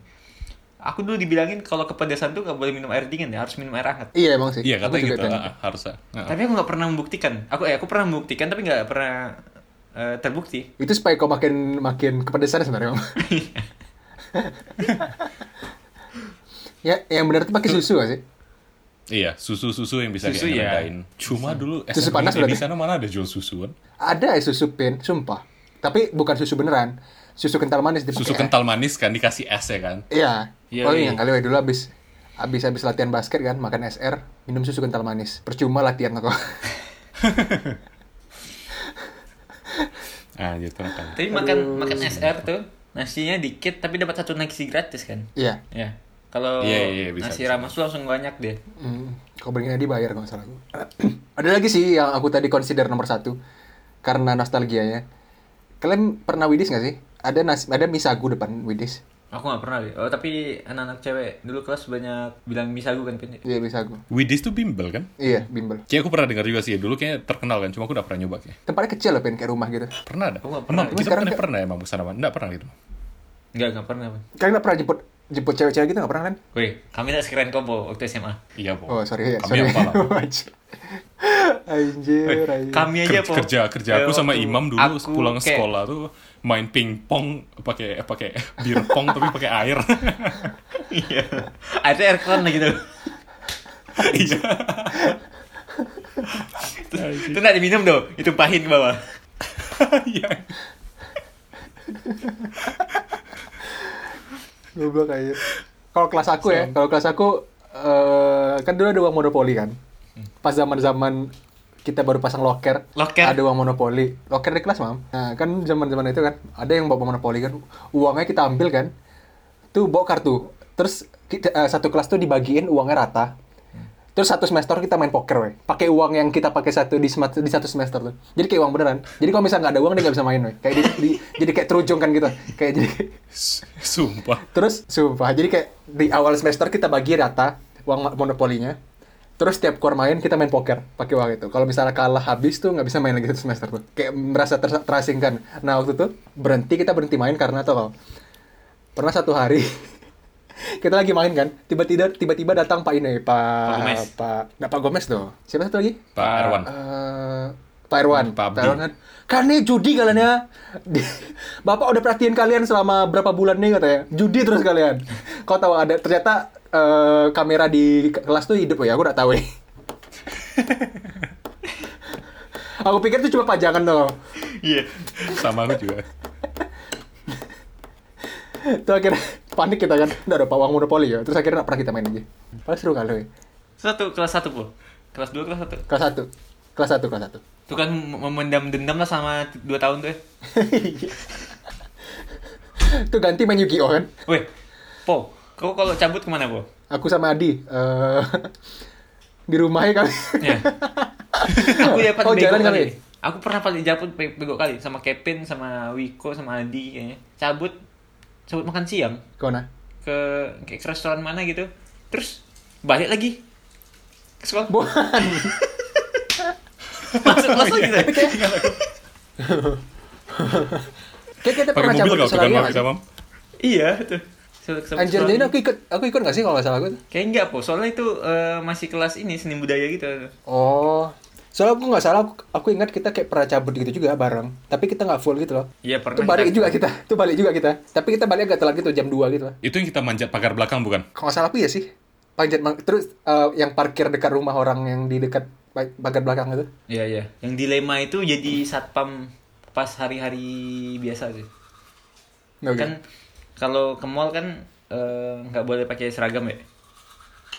Speaker 4: aku dulu dibilangin kalau kepedesan tuh gak boleh minum air dingin ya harus minum air hangat
Speaker 3: iya emang sih
Speaker 2: Iya
Speaker 3: Aku
Speaker 2: katanya
Speaker 3: juga
Speaker 2: gitu
Speaker 3: kan.
Speaker 2: ah, ah, harusnya. Ah, ah.
Speaker 4: tapi aku nggak pernah membuktikan aku eh aku pernah membuktikan tapi nggak pernah eh, terbukti
Speaker 3: itu supaya kau makin makin kepedesan sebenarnya Om.
Speaker 2: Iya.
Speaker 3: ya yang benar tuh pakai susu gak sih
Speaker 2: Iya susu susu yang bisa
Speaker 4: Susu,
Speaker 2: kayak
Speaker 4: iya.
Speaker 2: ngerendahin. Cuma dulu
Speaker 3: Susu
Speaker 2: SMP
Speaker 3: panas
Speaker 2: ya, di
Speaker 3: berarti?
Speaker 2: sana mana ada jual susuan?
Speaker 3: ada es susu pin sumpah tapi bukan susu beneran susu kental manis dipakai
Speaker 2: Susu kental manis kan dikasih es ya kan?
Speaker 3: iya
Speaker 4: Iya,
Speaker 3: oh
Speaker 4: iya.
Speaker 3: iya kali ya, dulu abis abis abis latihan basket kan makan SR minum susu kental manis percuma latihan kok
Speaker 2: Ah gitu kan.
Speaker 4: tapi makan makan SR tuh nasinya dikit tapi dapat satu nasi gratis kan
Speaker 3: iya
Speaker 4: ya kalau
Speaker 2: Iya, iya, iya, bisa,
Speaker 4: nasi
Speaker 2: bisa.
Speaker 4: ramas tuh langsung banyak deh
Speaker 3: hmm, kau beringin dibayar kalau nggak salah aku ada lagi sih yang aku tadi consider nomor satu karena nostalgianya kalian pernah widis nggak sih ada nasi ada misago depan widis
Speaker 4: aku nggak pernah deh oh, tapi anak-anak cewek dulu kelas banyak bilang misago kan Pin?
Speaker 3: iya misago
Speaker 2: Widis tuh bimbel kan?
Speaker 3: iya bimbel
Speaker 2: Kayak aku pernah dengar juga sih dulu kayak terkenal kan. Cuma aku udah pernah nyoba kayak.
Speaker 3: tempatnya kecil loh pin kayak rumah gitu
Speaker 2: Pernah ada?
Speaker 4: Aku Oh, nggak pernah.
Speaker 2: Emang,
Speaker 3: Cuma
Speaker 2: kita
Speaker 3: sekarang
Speaker 2: pernah,
Speaker 3: kayak-
Speaker 2: pernah emang kesana mana? Nggak pernah gitu.
Speaker 4: nggak nggak pernah Pin.
Speaker 3: kalian nggak pernah jemput jemput cewek-cewek gitu nggak pernah kan
Speaker 4: Woi, kami tak sekeren kombo waktu SMA.
Speaker 2: Iya boh.
Speaker 3: Oh sorry ya,
Speaker 2: Kami
Speaker 3: sorry.
Speaker 2: apalah.
Speaker 3: Anjir. anjir, anjir.
Speaker 4: Eh, Kami
Speaker 2: Kerja,
Speaker 4: aja po.
Speaker 2: kerja kerja aku
Speaker 4: Eh,
Speaker 2: sama
Speaker 4: waktu
Speaker 2: Imam dulu
Speaker 4: aku
Speaker 2: pulang
Speaker 4: kayak-
Speaker 2: sekolah tuh main pingpong pakai eh, pakai bir pong tapi pakai air.
Speaker 4: Iya. Ada aircon gitu. lagi tuh.
Speaker 2: Iya.
Speaker 4: Itu nggak diminum tuh, itu pahin ke bawah.
Speaker 2: Iya.
Speaker 3: Goblok anjir. Kalau kelas aku ya, kalau kelas aku eh kan dulu ada uang monopoli kan. Pas zaman-zaman kita baru pasang loker,
Speaker 4: Loker?
Speaker 3: ada uang monopoli. Loker di kelas, Mam. Nah, kan zaman-zaman itu kan ada yang bawa monopoli kan. Uangnya kita ambil kan. Tuh bawa kartu. Terus kita, eh, satu kelas tuh dibagiin uangnya rata. Terus satu semester kita main poker, weh. Pakai uang yang kita pakai satu di, semat- di satu semester tuh. Jadi kayak uang beneran. Jadi kalau misalnya nggak ada uang dia nggak bisa main, weh. Kayak di- di- jadi kayak terujung kan gitu. Kayak jadi
Speaker 2: S- Sumpah.
Speaker 3: Terus sumpah, jadi kayak di awal semester kita bagi rata uang ma- monopolinya. Terus setiap keluar main kita main poker pakai uang itu. Kalau misalnya kalah habis tuh nggak bisa main lagi satu semester tuh. Kayak merasa ter- terasingkan. Nah waktu itu berhenti kita berhenti main karena tau nggak? Pernah satu hari kita lagi main kan, tiba-tiba tiba-tiba datang Pak ini, Pak
Speaker 4: Pak Gomez.
Speaker 3: Pak, nggak, Pak Gomez tuh. Siapa satu lagi?
Speaker 2: Pak Erwan.
Speaker 3: Eh, Pak Erwan,
Speaker 2: Pak Abdi.
Speaker 3: Erwan kan, kan nih judi kalian ya. Di- Bapak udah perhatiin kalian selama berapa bulan nih katanya. Judi terus kalian. Kau tahu ada ternyata eh, kamera di ke- kelas tuh hidup oh ya, aku udah tahu. ya. aku pikir itu cuma pajangan loh.
Speaker 4: Iya.
Speaker 2: Sama aku juga.
Speaker 3: Itu akhirnya panik kita kan. Udah ada pawang monopoli ya. Terus akhirnya nggak pernah kita main aja. Paling seru kali. ya.
Speaker 4: Satu kelas satu po. Kelas dua kelas satu.
Speaker 3: Kelas satu, kelas satu, kelas satu.
Speaker 4: Tuh kan mem- memendam dendam lah sama t- dua tahun tuh. ya.
Speaker 3: Itu ganti main Yu-Gi-Oh kan.
Speaker 4: Woi, po, kau kalau cabut kemana po?
Speaker 3: Aku sama Adi eh, di rumahnya kami.
Speaker 4: Ya. Aku ya paling
Speaker 3: Oh,
Speaker 4: bego
Speaker 3: jalan
Speaker 4: kali.
Speaker 3: kali?
Speaker 4: Aku pernah paling cabut pe- bego kali sama Kevin, sama Wiko, sama Adi kayaknya. Cabut, cabut makan siang
Speaker 3: Kau nah.
Speaker 4: ke kayak ke restoran mana gitu. Terus balik lagi ke sekolah.
Speaker 3: Bukan.
Speaker 4: Masuk kelas lagi tuh.
Speaker 3: Kayak kita
Speaker 2: Pakai
Speaker 3: pernah
Speaker 2: mobil
Speaker 3: cabut ke
Speaker 2: kalau kita
Speaker 3: Australia
Speaker 2: mau
Speaker 3: nggak
Speaker 2: kita
Speaker 3: sih?
Speaker 2: mam.
Speaker 4: Iya tuh. Cabut- cabut
Speaker 3: Anjir,
Speaker 4: sekolah
Speaker 3: jadi
Speaker 4: lagi.
Speaker 3: aku ikut, aku ikut nggak sih kalau nggak salah aku? tuh?
Speaker 4: Kayaknya enggak, Po. Soalnya itu eh, masih kelas ini seni budaya gitu.
Speaker 3: Oh, soalnya aku nggak salah, aku, aku ingat kita kayak pernah cabut gitu juga bareng. Tapi kita nggak full gitu loh.
Speaker 4: Iya, pernah
Speaker 3: Itu balik
Speaker 4: kita-
Speaker 3: juga kita, itu balik juga kita. Tapi kita balik agak telat gitu, jam 2 gitu lah.
Speaker 2: Itu yang kita manjat pagar belakang bukan?
Speaker 3: Kalau nggak salah aku ya sih. Panjat, mang- terus eh, yang parkir dekat rumah orang yang di dekat ba- bagian belakang itu.
Speaker 4: Iya, iya. Yang dilema itu jadi satpam pas hari-hari biasa sih.
Speaker 3: Nggak
Speaker 4: Kan
Speaker 3: gitu.
Speaker 4: kalau ke mall kan eh, nggak boleh pakai seragam ya.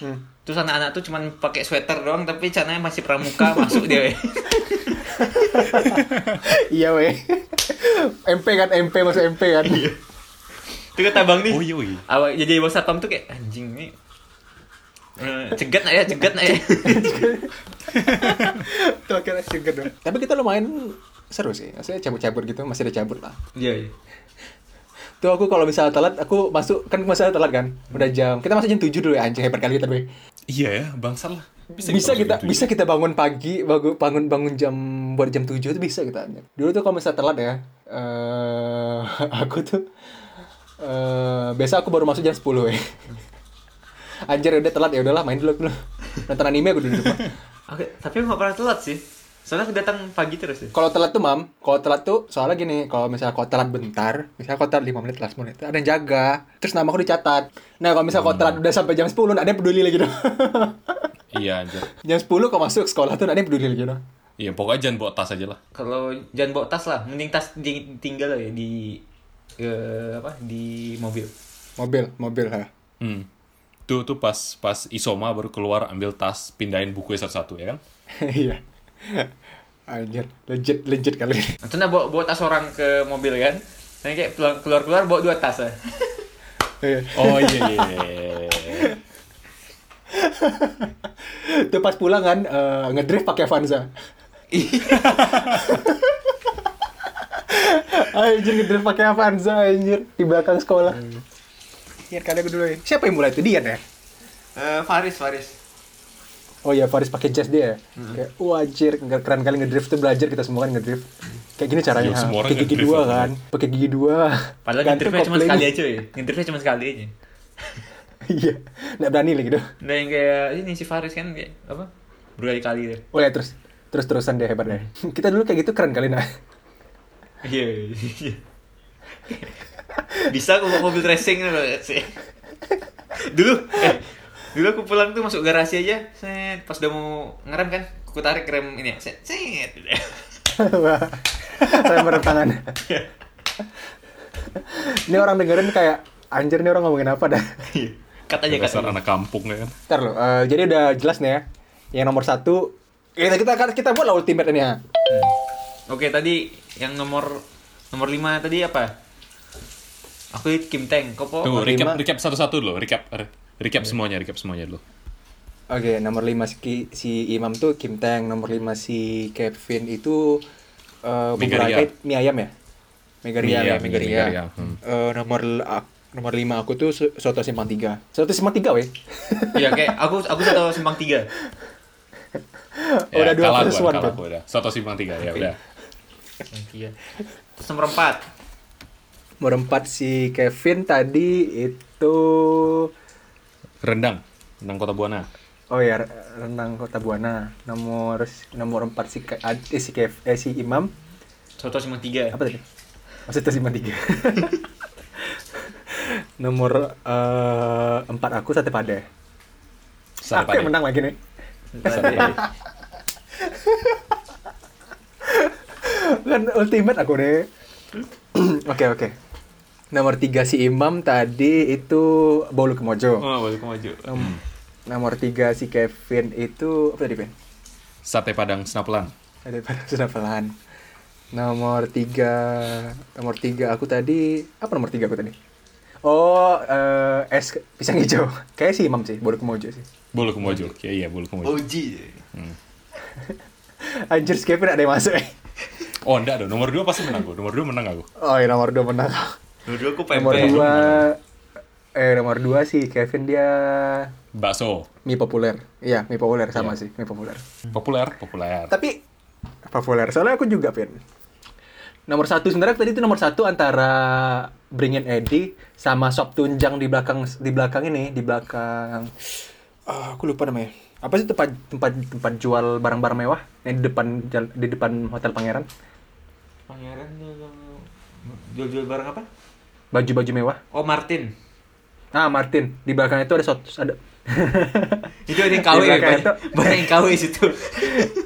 Speaker 3: Hmm.
Speaker 4: Terus anak-anak tuh cuman pakai sweater doang tapi caranya masih pramuka masuk dia. weh.
Speaker 3: iya weh. MP kan MP masuk MP kan
Speaker 4: Itu kata Bang nih.
Speaker 2: Oh, iya, iya.
Speaker 4: Awal jadi bos satpam tuh kayak anjing nih. Eh, cegat nggak ya, cegat nggak ya.
Speaker 3: Tuh, akhirnya seger dong. tapi kita lumayan seru sih maksudnya cabut-cabut gitu masih ada cabut lah
Speaker 4: Iya, iya.
Speaker 3: tuh aku kalau misalnya telat aku masuk kan masa telat kan udah jam kita masuk jam 7 dulu ya anjing hebat kali kita doi.
Speaker 2: Iya ya, bangsa lah.
Speaker 3: bisa, kita
Speaker 2: masukin
Speaker 3: bisa kita bangun pagi bangun bangun bangun jam buat jam 7 itu bisa kita dulu tuh kalau misalnya telat ya eh aku tuh eh biasa aku baru masuk jam 10 ya anjir udah telat ya udahlah main dulu dulu nonton anime aku dulu di depan
Speaker 4: Oke, tapi aku nggak pernah telat sih. Soalnya aku datang pagi terus ya.
Speaker 3: kalau telat tuh mam kalau telat tuh soalnya gini kalau misalnya kalau telat bentar misalnya kalau telat 5 menit last menit ada yang jaga terus nama aku dicatat nah kalau misalnya kalau telat udah sampai jam 10 nggak ada yang peduli lagi dong
Speaker 2: duit. Iya anjir.
Speaker 3: jam 10 kalau masuk sekolah tuh nggak ada yang peduli lagi dong
Speaker 2: Iya, pokoknya jangan bawa tas aja lah.
Speaker 4: Kalau jangan bawa tas lah, mending tas ditinggal ya di eh, apa di mobil.
Speaker 3: mobil mobil ha
Speaker 2: Hmm. Tuh tuh pas pas Isoma baru keluar ambil tas, pindahin buku satu-satu ya kan?
Speaker 3: iya anjir legit legit kali ini
Speaker 4: Itu nah bawa, bawa tas orang ke mobil kan. Nah kayak keluar keluar bawa dua tas ya.
Speaker 3: Iya.
Speaker 2: Oh iya iya. iya.
Speaker 3: tuh pas pulang kan eh, ngedrift pakai Avanza anjir ngedrift pakai Avanza anjir di belakang sekolah Iya kali aku dulu ya. Siapa yang mulai itu Dian ya?
Speaker 4: Eh, Faris Faris.
Speaker 3: Oh iya Faris pakai jas dia. ya? Kayak wah anjir nggak keren kali ngedrift tuh belajar kita semua kan ngedrift. Kayak gini caranya.
Speaker 2: Iya, semua orang
Speaker 3: Pakai gigi
Speaker 2: ngedrift
Speaker 3: dua
Speaker 2: apa?
Speaker 3: kan. Pakai gigi dua.
Speaker 4: Padahal
Speaker 3: Gantung
Speaker 4: nginterviewnya cuma
Speaker 3: kopling.
Speaker 4: sekali aja ya. Nginterviewnya cuma sekali aja.
Speaker 3: Iya. Nggak berani lagi dong.
Speaker 4: Nah yang kayak ini si Faris kan kayak apa? Berkali-kali deh.
Speaker 3: Oh ya terus terus terusan deh hebat deh. Kita dulu kayak gitu keren kali nah.
Speaker 4: Iya. iya. Bisa aku bawa mobil racing loh sih. Dulu eh dulu aku pulang tuh masuk garasi aja. Set, pas udah mau ngerem kan, aku tarik rem ini ya. Set, set. Iya.
Speaker 3: Wah. Saya merem tangan. Ini orang dengerin kayak anjir nih orang ngomongin apa dah.
Speaker 4: Kata aja
Speaker 2: Dasar
Speaker 4: kata.
Speaker 2: anak kampung ya kan?
Speaker 3: Ntar lo, eh, jadi udah jelas nih ya. Yang nomor satu, kita kita kita buat lah ultimate ini ya.
Speaker 4: Oke, tadi yang nomor nomor 5 tadi apa? Aku Kim Teng, kok po?
Speaker 2: Tuh,
Speaker 3: Nomor Oh, lima.
Speaker 2: recap recap satu-satu dulu, recap re- recap semuanya, recap semuanya dulu.
Speaker 3: Oke, nomor 5 si, Ki- si Imam tuh Kim Tang, nomor 5 si Kevin itu eh bubur
Speaker 2: Megaria.
Speaker 3: ayam, mie ayam ya? Megaria
Speaker 2: Mie
Speaker 3: ya,
Speaker 2: ayam,
Speaker 3: Megaria.
Speaker 2: mie ayam, hmm.
Speaker 3: Eh, nomor l- ak- nomor 5 aku tuh so- soto simpang 3. Soto simpang 3 weh.
Speaker 4: Iya, kayak aku aku satu simpang tiga.
Speaker 2: Ya,
Speaker 3: udah dua
Speaker 2: kalah
Speaker 3: versus
Speaker 2: gua,
Speaker 3: one,
Speaker 2: kalah
Speaker 3: Bang.
Speaker 2: gua udah. Satu simpang tiga ya udah.
Speaker 4: Simpang tiga. Terus nomor empat.
Speaker 3: Nomor 4 si Kevin tadi itu
Speaker 2: Rendang, rendang Kota Buana.
Speaker 3: oh ya re- renang Kota Buana. Nomor nomor 4 si Ke- Ad- eh, si Kev, eh, si Imam
Speaker 4: Soto simpang tiga.
Speaker 3: apa tadi? Oh, Soto simpang 3. nomor eh, empat aku sate padeh.
Speaker 2: Sate
Speaker 3: Aku yang
Speaker 2: padeh.
Speaker 3: menang lagi nih.
Speaker 2: Sate padeh.
Speaker 3: Kan ultimate aku deh. Oke oke. Nomor tiga si Imam tadi itu Bolu Kemojo.
Speaker 4: Oh, balik maju.
Speaker 3: Nom- Nomor tiga si Kevin itu apa tadi Ben?
Speaker 2: Sate Padang Senapelan.
Speaker 3: Ada pada sudah pelan. Nomor tiga nomor tiga aku tadi apa nomor tiga aku tadi? Oh eh, es pisang hijau. Kayak si Imam sih Bolu Kemojo sih.
Speaker 2: Bolu Kemojo. Iya, iya, Bolu Kemojo.
Speaker 4: OG.
Speaker 3: Anjir si Kevin ada yang masuk. eh.
Speaker 2: Oh, enggak dong. Nomor dua pasti menang gua. Nomor dua menang aku.
Speaker 3: Oh ya nomor dua menang.
Speaker 4: Nomor dua aku
Speaker 3: nomor
Speaker 4: pempek.
Speaker 3: dua eh nomor dua sih Kevin dia
Speaker 2: Bakso.
Speaker 3: mie populer iya mie populer sama sih mie populer
Speaker 2: Populer, populer.
Speaker 3: tapi populer soalnya aku juga Vin nomor satu sebenarnya tadi itu nomor satu antara Bringin Eddie sama sop tunjang di belakang di belakang ini di belakang Ah, aku lupa namanya apa sih tempat tempat tempat jual barang-barang mewah yang di depan jal- di depan hotel pangeran
Speaker 4: Pangeran jual- jual-jual barang apa?
Speaker 3: baju-baju mewah
Speaker 4: Oh, Martin.
Speaker 3: ah Martin di belakang itu ada sop ada
Speaker 4: Itu ada yang KW,
Speaker 3: Di belakang
Speaker 4: banyak,
Speaker 3: itu.
Speaker 4: banyak yang KW situ.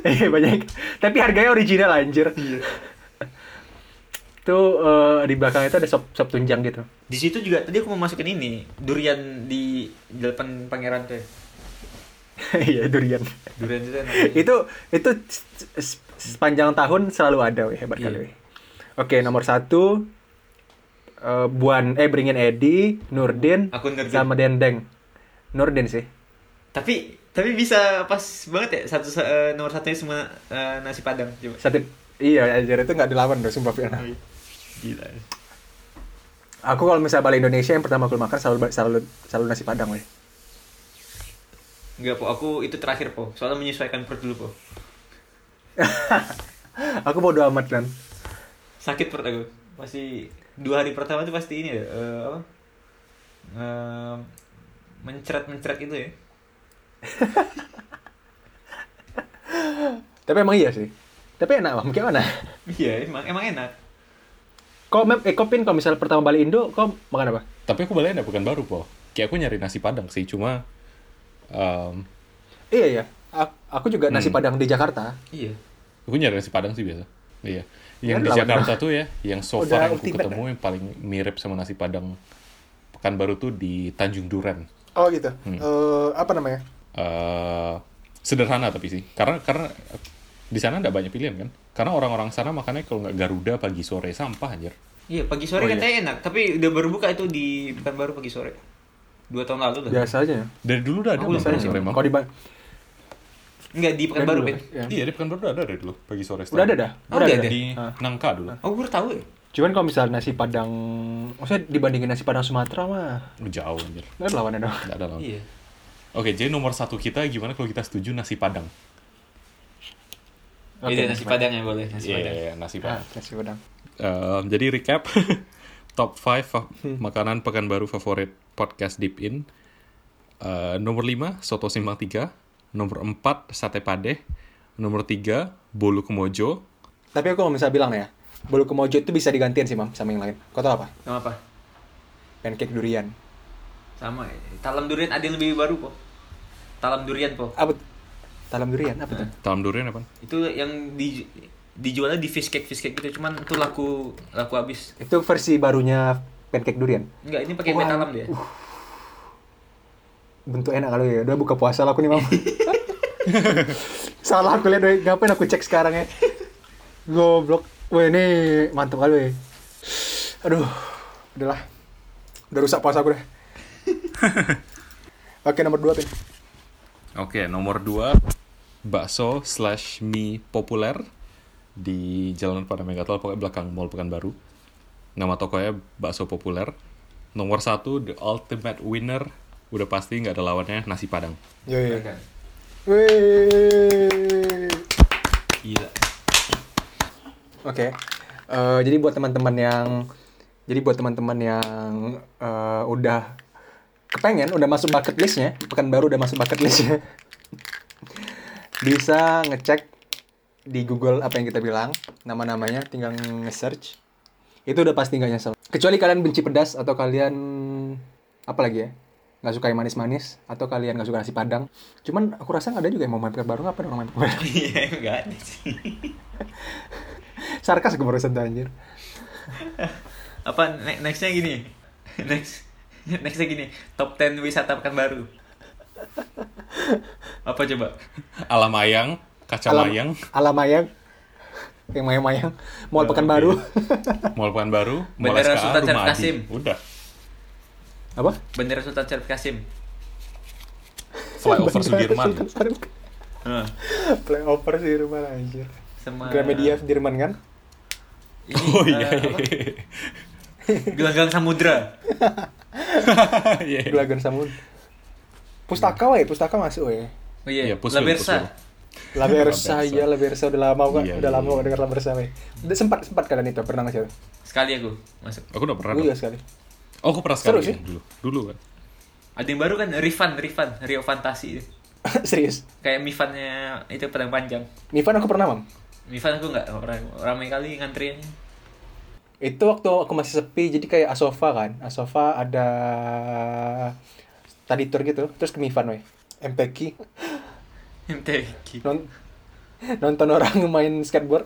Speaker 3: Eh banyak. Tapi harganya original anjir. Tuh eh, di belakang itu ada sop sop tunjang gitu.
Speaker 4: Di situ juga tadi aku mau masukin ini, durian di di depan Pangeran tuh. ya.
Speaker 3: Iya durian.
Speaker 4: Durian itu enak.
Speaker 3: itu itu s- s- sepanjang tahun selalu ada weh hebat kali
Speaker 4: Iya.
Speaker 3: weh. Oke, nomor satu eh, Buan eh Bringin Edi, Nurdin,
Speaker 4: Aku Nurdin.
Speaker 3: sama Dendeng. Nurdin sih.
Speaker 4: Tapi tapi bisa pas banget ya satu eh, nomor satunya semua eh, nasi padang coba.
Speaker 3: Satu iya ajar itu nggak dilawan dong sumpah Fir.
Speaker 4: Iya. Gila.
Speaker 3: Aku kalau misalnya balik Indonesia yang pertama aku makan selalu selalu selalu nasi padang weh.
Speaker 4: Enggak po, aku itu terakhir po. Soalnya menyesuaikan perut dulu po.
Speaker 3: aku bodo amat kan.
Speaker 4: Sakit perut aku. Masih dua hari pertama tuh pasti ini ya. eh, apa? Eh, mencret-mencret itu ya.
Speaker 3: Tapi emang iya sih. Tapi enak bang, gimana?
Speaker 4: Iya, emang emang enak.
Speaker 3: Kok mem, eh kok pin kalau misalnya pertama balik Indo, kok makan apa?
Speaker 2: Tapi aku baliknya bukan baru, po. Kayak aku nyari nasi padang sih, cuma... em,
Speaker 3: Iya iya. A- Aku juga nasi
Speaker 2: Hmm.
Speaker 3: padang di Jakarta.
Speaker 4: Iya.
Speaker 2: aku nyari nasi padang sih biasa. Iya. Yang
Speaker 3: Kan
Speaker 2: di
Speaker 3: lawan
Speaker 2: Jakarta tuh ya, yang so
Speaker 3: Udah
Speaker 2: far yang aku
Speaker 3: ultimate
Speaker 2: ketemu yang paling mirip sama nasi padang Pekanbaru tuh di Tanjung Duren.
Speaker 3: Oh gitu. apa namanya?
Speaker 2: eh sederhana tapi sih karena karena di sana nggak banyak pilihan kan karena orang-orang sana makannya kalau nggak Garuda pagi sore sampah anjir
Speaker 4: Iya, pagi
Speaker 2: Oh,
Speaker 4: sore
Speaker 2: iya.
Speaker 4: katanya enak, tapi udah baru buka itu di bukan baru pagi sore. Dua tahun lalu dah.
Speaker 3: Biasa aja ya.
Speaker 2: dari dulu udah ada
Speaker 4: Aku
Speaker 2: Bang,
Speaker 4: biasanya
Speaker 2: pagi sore Bang.
Speaker 3: Kalau di Ba-
Speaker 4: Enggak di
Speaker 3: dari
Speaker 4: Pekanbaru,
Speaker 3: dulu,
Speaker 4: Pin.
Speaker 3: ya.
Speaker 2: iya di Pekanbaru udah ada dari dulu pagi sore
Speaker 3: Udah ada
Speaker 2: setahu.
Speaker 3: dah.
Speaker 4: Oh, udah ada?
Speaker 2: di Nangka dulu
Speaker 4: Oh, gue baru tahu ya.
Speaker 3: Cuman kalau misalnya nasi padang, maksudnya dibandingin nasi padang Sumatera mah,
Speaker 2: Lu jauh anjir
Speaker 3: nggak ada lawannya dong.
Speaker 2: nggak ada lawan
Speaker 4: Iya.
Speaker 2: oke jadi nomor satu kita gimana kalau kita setuju nasi padang
Speaker 4: Iya,
Speaker 3: Oke,
Speaker 4: nasi padang ya boleh, nasi
Speaker 2: iya
Speaker 4: padang.
Speaker 2: iya, nasi
Speaker 3: Ah,
Speaker 2: padang
Speaker 3: nasi padang.
Speaker 2: Em, jadi recap top 5 makanan Pekanbaru favorit podcast Deep In. Eh, nomor 5 soto simpang 3, nomor 4 sate padeh, nomor 3 bolu kemojo.
Speaker 3: Tapi aku mau misalnya bilang nih ya, bolu kemojo itu bisa digantiin sih, Mam, sama yang lain. Kau tau apa?
Speaker 4: Sama apa?
Speaker 3: Pancake durian.
Speaker 4: Sama. ya. Talam durian ada yang lebih baru, Po. Talam durian, Po.
Speaker 3: Apa? tuh? Talam durian, apa tuh?
Speaker 2: Dalam durian apa?
Speaker 4: Itu yang di dijualnya di fish cake fish cake gitu, cuman itu laku laku habis.
Speaker 3: Itu versi barunya pancake durian.
Speaker 4: Enggak, ini pakai mie talam dia.
Speaker 3: Bentuk enak kali ya, udah buka puasa lah aku nih, Mam. Salah aku lihat, weh. ngapain aku cek sekarang ya. Goblok. Weh, ini mantap kali, weh. Aduh, udahlah. Udah rusak puasa aku dah. Oke, nomor dua, Pin.
Speaker 2: Oke, nomor 2 bakso slash mie populer di Jalan Pada Megatol, pokoknya belakang Mall Pekanbaru. Nama tokonya bakso populer. Nomor 1 the ultimate winner udah pasti nggak ada lawannya nasi padang.
Speaker 3: Yo, yo.
Speaker 4: Kan.
Speaker 3: Wih.
Speaker 4: Gila.
Speaker 3: Oke. Eh, jadi buat teman-teman yang jadi buat teman-teman yang eh, udah kepengen, udah masuk bucket listnya, pekan baru udah masuk bucket listnya, bisa ngecek di Google apa yang kita bilang, nama-namanya, tinggal nge-search, itu udah pasti nggak nyesel. Kecuali kalian benci pedas atau kalian apa lagi ya, nggak suka yang manis-manis atau kalian nggak suka nasi padang. Cuman aku rasa nggak ada juga yang mau main pekan baru, ngapain orang main pekan baru?
Speaker 4: Iya, enggak ada sih.
Speaker 3: Sarkas gue barusan tuh, anjir.
Speaker 4: Apa ne- nextnya gini? Next nextnya gini, top 10 wisata Pekanbaru. Apa coba?
Speaker 2: Alam ayang, kaca
Speaker 3: Alam-
Speaker 2: mayang,
Speaker 3: Alam Ayang. Yang mayang-mayang.
Speaker 2: Ya,
Speaker 3: Mall Pekanbaru.
Speaker 2: iya. Mall Pekanbaru, Mall
Speaker 4: Bendera
Speaker 2: SKA,
Speaker 4: Sultan Syarif
Speaker 2: Rumah Adi.
Speaker 4: Kasim.
Speaker 2: Udah.
Speaker 3: Apa?
Speaker 4: Bendera Sultan Syarif Kasim.
Speaker 2: Flyover
Speaker 3: Bandara
Speaker 2: Sudirman.
Speaker 3: Sultan Syarif.
Speaker 4: Heeh.
Speaker 3: Flyover Sudirman anjir.
Speaker 4: Sama
Speaker 3: Gramedia Sudirman kan?
Speaker 4: Ini,
Speaker 2: Oh iya.
Speaker 4: eh, apa? Gelanggang Samudra.
Speaker 2: Iya.
Speaker 3: Gelagan Samun. Pustaka wae, pustaka masuk wae.
Speaker 4: Oh iya,
Speaker 2: Iya, Puslo,
Speaker 4: La Versa.
Speaker 3: La Versa
Speaker 2: La Versa.
Speaker 3: ya, La Versa udah lama gua
Speaker 2: Iya,
Speaker 3: udah
Speaker 2: iya,
Speaker 3: lama gua
Speaker 2: iya.
Speaker 3: denger La Versa wae. Udah sempat sempat kalian itu pernah nggak sih?
Speaker 4: Sekali aku masuk.
Speaker 2: Aku udah pernah.
Speaker 3: Gue juga sekali.
Speaker 2: Oh, aku pernah
Speaker 3: iya. Seru
Speaker 2: sekali
Speaker 3: sih.
Speaker 2: ya, dulu. Dulu kan.
Speaker 4: Ada yang baru kan Rifan, Rifan, Rio Fantasi.
Speaker 3: Serius.
Speaker 4: Kayak Mifannya itu pedang panjang.
Speaker 3: Nivan aku pernah, Mam.
Speaker 4: Mifan aku nggak nggak pernah ramai kali ngantriannya.
Speaker 3: Itu waktu aku masih sepi, jadi kayak Asofa kan. Asofa ada tadi tour gitu, terus ke Mifan weh. MPK.
Speaker 4: MTQ.
Speaker 3: Non- nonton orang main skateboard.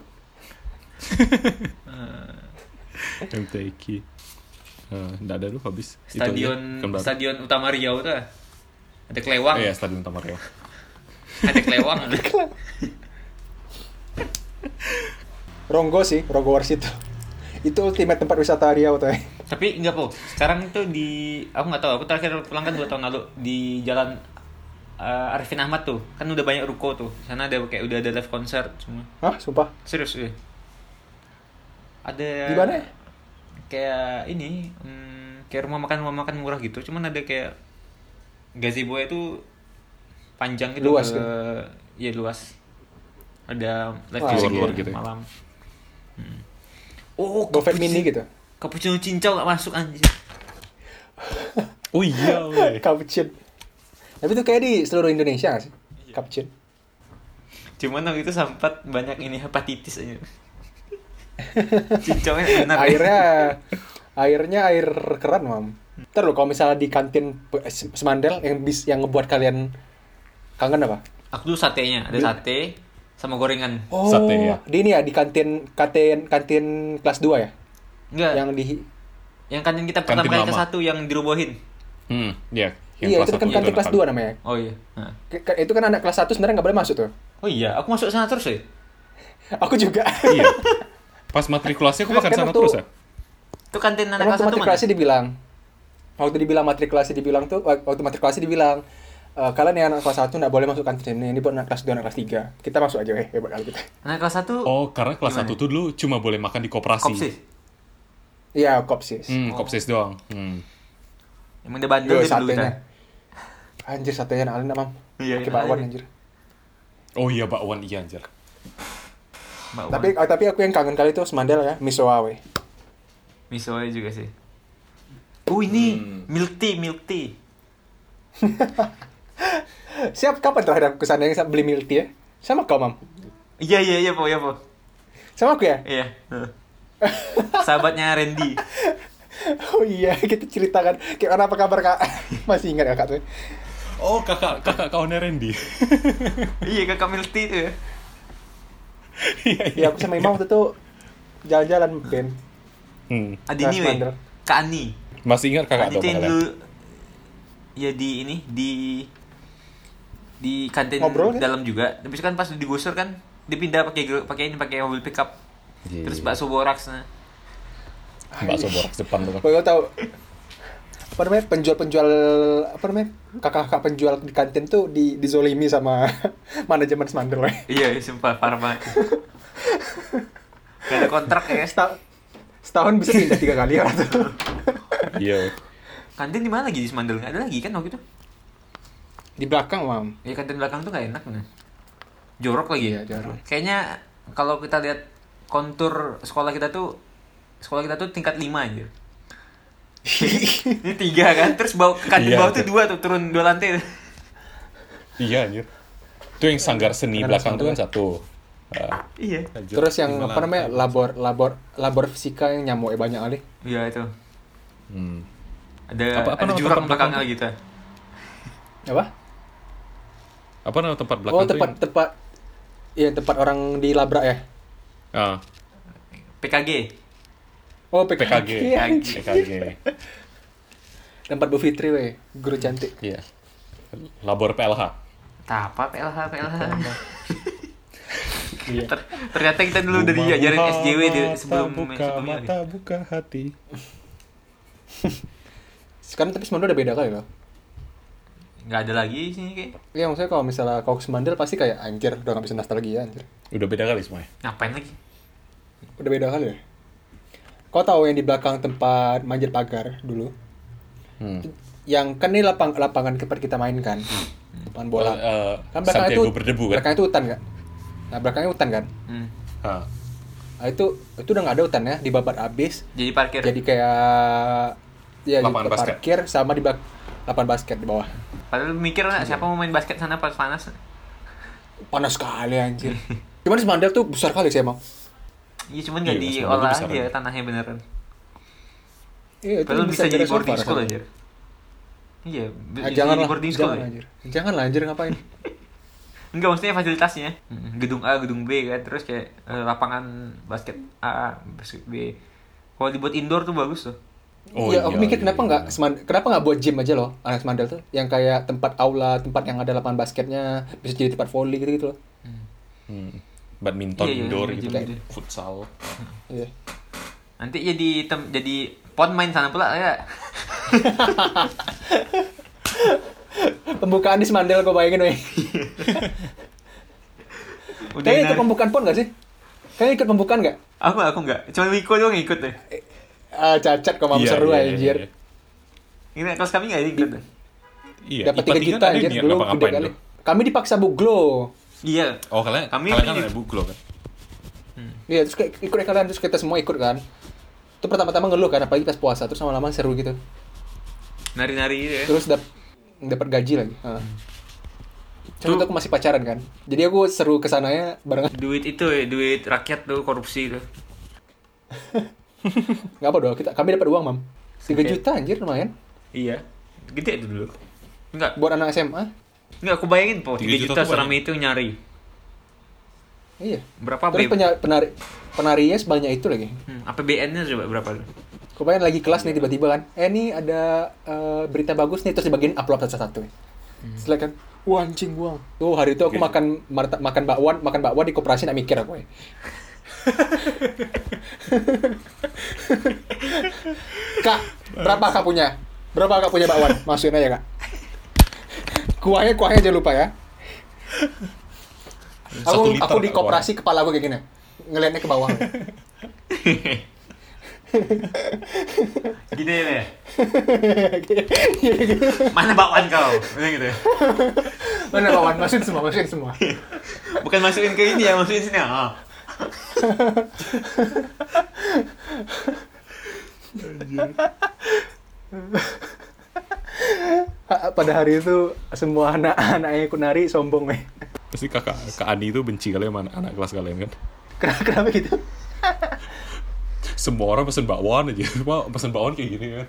Speaker 4: Eh,
Speaker 2: MTQ. Eh, Nggak ada lu habis. Itu aja,
Speaker 4: stadion
Speaker 2: Pekanbaru.
Speaker 4: Stadion Utama Riau tuh. Ada kelewang,
Speaker 2: Oh, iya, stadion Taman Rio.
Speaker 4: ada kelewang.
Speaker 3: Ronggo sih, Ronggo Wars itu. Itu ultimate tempat wisata Riau tuh. eh.
Speaker 4: Tapi enggak po. Sekarang itu di aku nggak tahu. Aku terakhir pulang kan dua tahun lalu di jalan eh, Arifin Ahmad tuh. Kan udah banyak ruko tuh. Di Sana ada kayak udah ada live konser semua.
Speaker 3: Hah, sumpah.
Speaker 4: Serius iya.
Speaker 3: Di
Speaker 4: Ada
Speaker 3: mana?
Speaker 4: Kayak ini hmm, kayak rumah makan rumah makan murah gitu. Cuman ada kayak gazebo itu panjang gitu
Speaker 3: Luas
Speaker 4: ke-
Speaker 3: gitu.
Speaker 4: Iya luas. Ada live
Speaker 3: Wah,
Speaker 4: music
Speaker 2: keluar
Speaker 4: ya,
Speaker 2: gitu ya.
Speaker 4: malam. Hmm. Oh,
Speaker 3: GoFed
Speaker 4: cappuccino-
Speaker 3: mini gitu.
Speaker 4: Cappuccino cincau gak masuk anjir.
Speaker 2: Oh iya, weh.
Speaker 3: Kapcin. Tapi itu kayak di seluruh Indonesia nggak sih? Kapcin.
Speaker 4: Cuman waktu itu sempat banyak ini hepatitis aja. Cincaunya enak. ya.
Speaker 3: Airnya airnya air keran, Mam. Ntar lo kalau misalnya di kantin P- S- Semandel yang bis yang ngebuat kalian kangen apa?
Speaker 4: Aku dulu satenya, ada sate sama gorengan.
Speaker 3: Oh,
Speaker 2: Sate, ya.
Speaker 3: di ini ya di kantin kantin kantin kelas 2 ya.
Speaker 4: Enggak, yang,
Speaker 3: Yang di
Speaker 4: kantin kita pertama
Speaker 2: Kantin
Speaker 4: kali ke
Speaker 2: lama.
Speaker 4: satu yang dirubohin.
Speaker 2: Hmm, iya.
Speaker 3: Iya, itu kan kantin kelas 2 namanya.
Speaker 4: Oh iya. Nah.
Speaker 3: Ke- ke- Itu kan anak kelas 1 sebenarnya nggak boleh masuk tuh.
Speaker 4: Oh iya, aku masuk sana terus ya.
Speaker 3: Aku juga.
Speaker 2: Iya. Pas matrikulasi aku makan
Speaker 3: Kan
Speaker 2: sana
Speaker 3: waktu-
Speaker 2: terus ya.
Speaker 4: Itu kantin
Speaker 3: Karena
Speaker 4: anak kelas
Speaker 3: waktu
Speaker 4: satu mana?
Speaker 3: matrikulasi dibilang, waktu dibilang matrikulasi dibilang tuh, waktu matrikulasi dibilang, e, kalian yang anak kelas 1 nggak boleh masuk kantin ini, ini buat anak kelas 2, anak kelas 3. Kita masuk aja, eh, hebat kali kita.
Speaker 4: Anak kelas satu
Speaker 2: Oh, karena kelas
Speaker 4: Gimana?
Speaker 2: 1 tuh dulu cuma boleh makan di koperasi.
Speaker 4: kopsis.
Speaker 3: Iya, kopsis.
Speaker 2: Hmm, kopsis doang. Hmm.
Speaker 4: Emang dia bandel
Speaker 3: Yo,
Speaker 4: dia dulu kan? kita.
Speaker 3: satenya. Anjir, satenya nak alin, Mam.
Speaker 4: Iya,
Speaker 3: Pakai
Speaker 4: enak
Speaker 3: bakwan,
Speaker 4: aja.
Speaker 3: anjir.
Speaker 2: Oh iya, bakwan iya anjir.
Speaker 4: Mbak Wan.
Speaker 3: Tapi oh, tapi aku yang kangen kali itu semandel ya, misoa weh.
Speaker 4: misonya juga sih. Oh ini milk tea, milk tea.
Speaker 3: Siap kapan terakhir aku kesana yang beli milk tea ya? Sama kau, Mam.
Speaker 4: Iya iya iya po, iya po.
Speaker 3: Sama aku ya?
Speaker 4: Iya. Sahabatnya Randy.
Speaker 3: Oh iya, kita ceritakan. Kayak orang apa kabar, Kak? Masih ingat kakak tuh.
Speaker 2: Oh, kakak kakak kawannya Randy.
Speaker 4: iya kakak milk tea tuh ya.
Speaker 2: Iya, iya.
Speaker 3: Ya, aku sama Imam waktu itu jalan-jalan, Ben.
Speaker 2: Hmm.
Speaker 4: Adini
Speaker 3: Kelas
Speaker 4: weh.
Speaker 3: bandel.
Speaker 4: Kak Ani.
Speaker 2: Masih ingat kakak
Speaker 4: Kak
Speaker 2: dong
Speaker 4: itu yang
Speaker 2: kalian?
Speaker 4: dulu ya di ini di di kantin
Speaker 3: Ngobrol, kan?
Speaker 4: dalam juga. Tapi kan pas digusur kan dipindah pakai gru- pakai ini pakai mobil pickup.
Speaker 2: Iya, iya.
Speaker 4: Terus bakso borax nah.
Speaker 2: Bakso borak depan tuh.
Speaker 3: Gue tahu apa namanya penjual-penjual apa namanya kakak-kakak penjual di kantin tuh di dizolimi sama manajemen Semandel. weh.
Speaker 4: Iya, iya, sumpah parah banget. Gak ada kontrak ya.
Speaker 3: Seta- setahun bisa pindah tiga kali ya tuh.
Speaker 2: Iya.
Speaker 4: Kantin di mana lagi di Semandel? Gak ada lagi kan waktu itu?
Speaker 3: Di belakang mam.
Speaker 4: Ya kantin belakang tuh gak enak nah. Jorok lagi
Speaker 3: Iya,
Speaker 4: ya.
Speaker 3: jorok.
Speaker 4: Kayaknya kalau kita lihat kontur sekolah kita tuh sekolah kita tuh tingkat 5 aja. Ini tiga kan, terus bau ke kantin
Speaker 2: Iya,
Speaker 4: bawah tuh
Speaker 2: betul.
Speaker 4: dua tuh turun dua lantai.
Speaker 2: Iya anjir. Itu yang sanggar seni
Speaker 3: Karena
Speaker 2: belakang tuh kan satu. Ah,
Speaker 4: iya.
Speaker 2: lanjut.
Speaker 3: Terus yang
Speaker 2: Lima
Speaker 3: apa namanya
Speaker 2: lantai.
Speaker 3: labor labor labor fisika yang nyamuk ya banyak kali.
Speaker 4: Iya itu.
Speaker 2: Hmm.
Speaker 4: Ada
Speaker 2: Apa- apa
Speaker 4: ada
Speaker 2: nama
Speaker 4: jurang
Speaker 2: tempat
Speaker 4: belakangnya
Speaker 2: belakang?
Speaker 4: gitu.
Speaker 3: Apa?
Speaker 2: Apa nama tempat belakang
Speaker 3: Oh
Speaker 2: tuh
Speaker 3: tempat
Speaker 2: yang-
Speaker 3: tempat iya tempat orang di labrak ya.
Speaker 2: Ah,
Speaker 4: PKG.
Speaker 3: Oh PKG.
Speaker 2: PKG.
Speaker 3: Iya.
Speaker 2: PKG.
Speaker 3: Tempat Bu Fitri weh, guru cantik.
Speaker 2: Iya. Labor PLH.
Speaker 4: Tapa PLH PLH.
Speaker 3: Iya.
Speaker 4: Ter- ternyata kita dulu dari
Speaker 2: Bunga
Speaker 4: ajaran
Speaker 2: uha
Speaker 4: SJW di,
Speaker 2: mata
Speaker 4: sebelum
Speaker 2: buka
Speaker 4: sebelumnya.
Speaker 2: mata buka hati.
Speaker 3: Sekarang tapi Semandel udah beda kali loh.
Speaker 4: Nggak ada lagi sih kayak.
Speaker 3: Iya maksudnya kalau misalnya kau ke Semandel pasti kayak anjir udah nggak bisa nostalgia anjir.
Speaker 2: Udah beda kali semuanya.
Speaker 4: Ngapain lagi?
Speaker 3: Udah beda kali ya? Kau tahu yang di belakang tempat manjat pagar dulu?
Speaker 2: Hmm.
Speaker 3: Yang kan ini lapang, lapangan tempat kita main kan? Lapangan bola.
Speaker 2: Eh, eh,
Speaker 3: kan belakangnya
Speaker 2: Santiago
Speaker 3: itu
Speaker 2: berdebu kan?
Speaker 3: Belakangnya itu hutan kan? Nah belakangnya hutan kan?
Speaker 4: Hmm.
Speaker 2: Ah.
Speaker 3: Nah, itu itu udah nggak ada hutan ya, dibabat habis.
Speaker 4: Jadi parkir.
Speaker 3: Jadi kayak ya di
Speaker 2: Lapangan basket.
Speaker 3: parkir sama di belak lapangan basket di bawah.
Speaker 4: Padahal lu mikir nggak
Speaker 2: Iya.
Speaker 4: siapa mau main basket sana pas panas.
Speaker 3: Panas sekali anjir. Cuman di Semandel tuh besar kali sih emang.
Speaker 4: Iya cuman nggak
Speaker 2: Iya, mas,
Speaker 4: diolah
Speaker 2: bener-bener
Speaker 4: aja
Speaker 2: besar.
Speaker 4: tanahnya beneran.
Speaker 3: Iya,
Speaker 4: Padahal bisa jadi
Speaker 3: beres
Speaker 4: boarding
Speaker 3: sofa
Speaker 4: school
Speaker 3: rasanya.
Speaker 4: aja. Iya,
Speaker 3: Ah,
Speaker 4: bisa
Speaker 3: jangan
Speaker 4: jadi
Speaker 3: lah,
Speaker 4: boarding school.
Speaker 3: jangan
Speaker 4: ya.
Speaker 3: anjir. Jangan lah anjir ngapain.
Speaker 4: Enggak maksudnya fasilitasnya. Mm, Gedung A, gedung B kan, terus kayak eh, lapangan basket A, basket B. Kalau dibuat indoor tuh bagus tuh.
Speaker 2: Oh
Speaker 3: ya, aku
Speaker 2: iya,
Speaker 3: mikir
Speaker 2: iya,
Speaker 3: kenapa
Speaker 2: iya.
Speaker 3: nggak Semand- kenapa nggak buat gym aja loh anak Semandel tuh yang kayak tempat aula, tempat yang ada lapangan basketnya, bisa jadi tempat volley gitu gitu loh.
Speaker 2: Hmm. Badminton
Speaker 4: Iya, iya,
Speaker 2: indoor
Speaker 4: iya,
Speaker 2: gitu
Speaker 4: iya,
Speaker 2: kan.
Speaker 4: iya.
Speaker 2: Futsal.
Speaker 3: Iya.
Speaker 4: Nanti jadi tem- jadi pon main sana pula ya.
Speaker 3: Pembukaan di Semandel gue bayangin weh. Kayaknya ikut
Speaker 4: narik-
Speaker 3: pembukaan pon gak sih? Kayaknya ikut pembukaan gak?
Speaker 4: Aku aku enggak. Cuma Wiko doang yang ikut deh.
Speaker 3: Ah, cacat kok mam
Speaker 2: Iya,
Speaker 3: seru
Speaker 2: iya, iya,
Speaker 3: anjir.
Speaker 2: iya.
Speaker 4: Ini kelas kami enggak ikut. deh.
Speaker 2: Iya,
Speaker 3: Dapat 3 juta anjir dulu gede kali. Kami dipaksa buglo.
Speaker 4: Iya.
Speaker 2: Oh, kalian
Speaker 4: Kami
Speaker 2: kalian kan
Speaker 4: ini-
Speaker 2: ada buglo kan?
Speaker 3: Iya, terus kayak ikut kalian terus kita semua ikut kan. Itu pertama-tama ngeluh kan apalagi pas puasa terus lama-lama seru gitu.
Speaker 4: Nari-nari gitu ya.
Speaker 3: Terus dap dapat gaji lagi. Heeh. Cuma
Speaker 4: Tuh.
Speaker 3: itu aku masih pacaran kan. Jadi aku seru ya, kesananya bareng
Speaker 4: Duit itu ya, duit rakyat tuh korupsi tuh.
Speaker 3: nggak apa doang kita kami dapat uang mam 3
Speaker 4: Oke.
Speaker 3: juta anjir lumayan
Speaker 4: Iya. Gede tuh dulu. Enggak.
Speaker 3: buat anak SMA
Speaker 4: Enggak aku bayangin po 3
Speaker 2: Tiga juta
Speaker 4: juta,
Speaker 2: tuh
Speaker 4: seram
Speaker 2: banyak.
Speaker 4: itu nyari.
Speaker 3: iya
Speaker 4: Berapa
Speaker 3: terus
Speaker 4: B?
Speaker 3: penya, penari penarinya sebanyak itu lagi
Speaker 4: Hmm, APBN-nya coba berapa tuh?
Speaker 3: Kau bayangin lagi kelas nih tiba-tiba kan eh ini ada eh, berita bagus nih terus dibagiin upload satu-satu setelah kan wah anjing gua tuh hari itu aku
Speaker 2: Gitu.
Speaker 3: makan marta- makan bakwan makan bakwan di koperasi nggak mikir aku ya kak berapa kak punya berapa kak punya bakwan masukin aja kak kuahnya kuahnya jangan lupa ya aku,
Speaker 2: Satu liter,
Speaker 3: aku di
Speaker 2: Kak,
Speaker 3: koperasi kepala aku kayak gini ngelihatnya ke bawah
Speaker 4: Gini ya. Mana bakwan kau? Bilang gitu.
Speaker 3: mana kawan masukin semua masukin semua
Speaker 4: Bukan masukin ke ini ya, masukin sini. Ah.
Speaker 3: Ha- pada hari itu semua anak-anak yang ikut nari sombong weh
Speaker 2: Pasti kakak Kak Andi itu benci kalian sama anak, anak kelas kalian kan?
Speaker 3: kenapa, kenapa gitu
Speaker 2: Semua orang pesen bakwan aja. Wah, pesen bakwan kayak gini kan.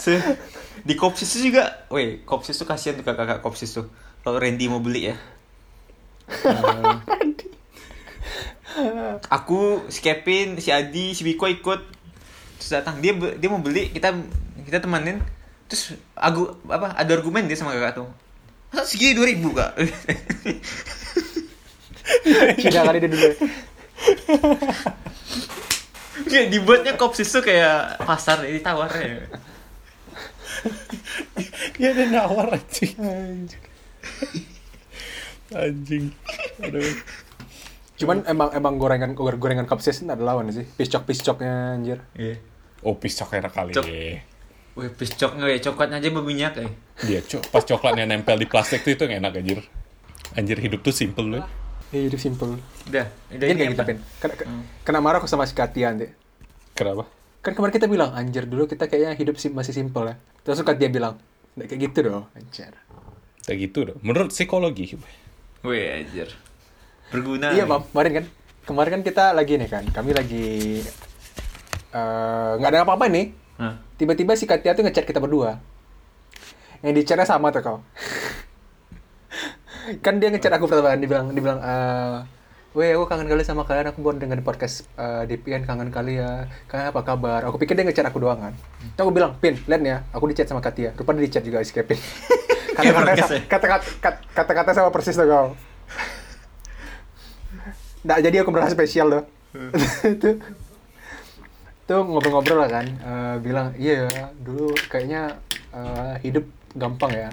Speaker 4: Se di Kopsis tuh juga, weh, Kopsis tuh kasihan tuh kakak-kakak Kopsis tuh. Kalau Randy mau beli ya. Eh, aku, si Kevin, si Adi, si Wiko ikut. Terus datang dia be- dia mau beli, kita kita temenin. Terus aku apa ada argumen dia sama kakak tuh. Masa segini 2000 kak?
Speaker 3: Cina kali dia dulu
Speaker 4: Kayak dibuatnya Kopsis tuh kayak pasar ditawar ya.
Speaker 2: Iya, dia nawar anjing. Anjing. Aduh.
Speaker 3: cuman emang emang gorengan gor- gorengan kapsis ada lawan sih piscok piscoknya anjir
Speaker 4: Iya.
Speaker 2: Oh, piscok enak kali.
Speaker 4: Cok. Weh, piscoknya weh, ya? coklatnya aja berminyak ya.
Speaker 2: Iya, cok. Pas coklatnya nempel di plastik tuh itu yang enak anjir. Anjir hidup tuh simple loh.
Speaker 3: ya hidup simpel
Speaker 4: Udah, udah
Speaker 3: jadi kayak
Speaker 4: ini
Speaker 3: gitu
Speaker 4: apa?
Speaker 3: pin
Speaker 4: Hmm.
Speaker 3: kena, kena marah aku sama si Katia nanti
Speaker 2: Kenapa?
Speaker 3: kan kemarin kita bilang anjir dulu kita kayaknya hidup sim- masih simpel ya terus Katia bilang nggak kayak gitu dong anjir
Speaker 2: Kayak gitu dong. Menurut psikologi.
Speaker 4: Wih, anjir. Berguna.
Speaker 3: Iya,
Speaker 4: nih.
Speaker 3: Mam. Kemarin kan. Kemarin kan kita lagi nih kan. Kami lagi eh, nggak ada apa-apa nih.
Speaker 4: Hah?
Speaker 3: Tiba-tiba si Katia tuh ngechat kita berdua. Yang di chatnya sama tuh kau. kan dia ngechat aku pertama dia bilang dia bilang eh, Weh, aku kangen kali sama kalian. Aku baru dengar podcast eh, DPN kangen kali ya. Kalian apa kabar? Aku pikir dia ngechat aku doang kan. Terus aku bilang, Pin, lihat nih ya. Aku di chat sama Katia. Rupanya di chat juga si Kevin. Kata-kata
Speaker 4: podcast ya?
Speaker 3: kata-kata kata-kata sama persis tuh kau. Nggak, jadi aku merasa spesial loh. Itu tuh ngobrol-ngobrol lah kan, Eh, bilang iya ya, dulu kayaknya eh, hidup gampang ya,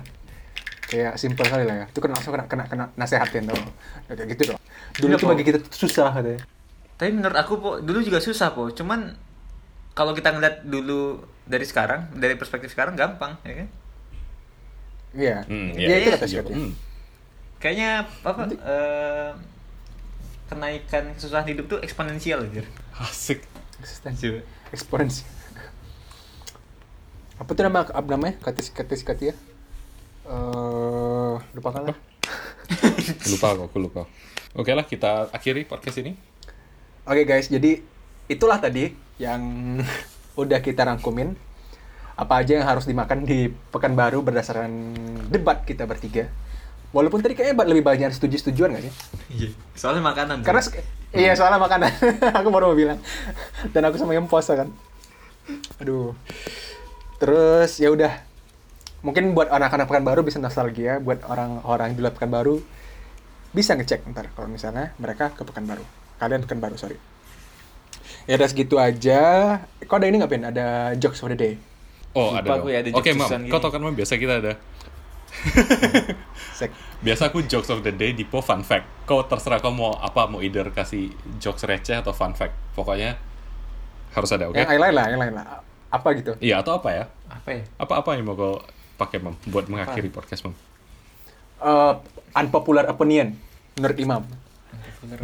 Speaker 3: kayak simple kali lah ya. Itu kena langsung kena kena kena nasehatin tuh, kayak gitu dong. Dulu
Speaker 4: Iya,
Speaker 3: tuh
Speaker 4: Po.
Speaker 3: bagi kita tuh susah katanya.
Speaker 4: Tapi menurut aku po, dulu juga susah po. Cuman kalau kita ngeliat dulu dari sekarang, dari perspektif sekarang gampang, ya kan?
Speaker 3: Iya,
Speaker 2: Hmm,
Speaker 3: iya
Speaker 2: iya,
Speaker 3: itu
Speaker 4: iya,
Speaker 3: kata Scott ya.
Speaker 2: Hmm.
Speaker 4: Kayaknya apa? eh, kenaikan kesusahan hidup tuh eksponensial anjir.
Speaker 2: Asik.
Speaker 3: Eksistensi, eksponensi. Apa tuh nama apa namanya? Kata si kata si Katia. Eh, lupakan lah.
Speaker 2: Lupa aku, aku lupa. Oke lah, kita akhiri podcast ini.
Speaker 3: Oke guys, jadi itulah tadi yang udah kita rangkumin apa aja yang harus dimakan di Pekanbaru berdasarkan debat kita bertiga. Walaupun tadi kayaknya lebih banyak setuju-setujuan gak sih?
Speaker 4: Iya. Soalnya makanan.
Speaker 3: Karena
Speaker 4: tuh.
Speaker 3: sek- iya soalnya makanan. aku baru mau bilang. Dan aku sama yang puasa kan. Aduh. Terus ya udah. Mungkin buat anak-anak Pekanbaru bisa nostalgia, buat orang-orang di luar Pekanbaru bisa ngecek ntar kalau misalnya mereka ke Pekanbaru. Kalian Pekanbaru, sorry. Ya udah segitu aja. Kok ada ini nggak Pin? Ada jokes for the day.
Speaker 2: Oh,
Speaker 4: Lupa
Speaker 2: ada. dong.
Speaker 4: gue ada
Speaker 2: Oke, Mam.
Speaker 4: jokes-jokesan
Speaker 2: Kau
Speaker 4: gini.
Speaker 2: tau kan, Mam, biasa kita ada.
Speaker 3: Sek.
Speaker 2: Biasa aku jokes of the day di po fun fact. Kau terserah kau mau apa, mau either kasih jokes receh atau fun fact. Pokoknya harus ada, oke?
Speaker 3: Yang lain lah, yang lain lah. Apa gitu?
Speaker 2: Iya, atau apa ya?
Speaker 4: Apa ya?
Speaker 2: Apa-apa yang mau kau pakai, Mam, buat mengakhiri podcast, Mam?
Speaker 3: Eh, unpopular opinion menurut Imam.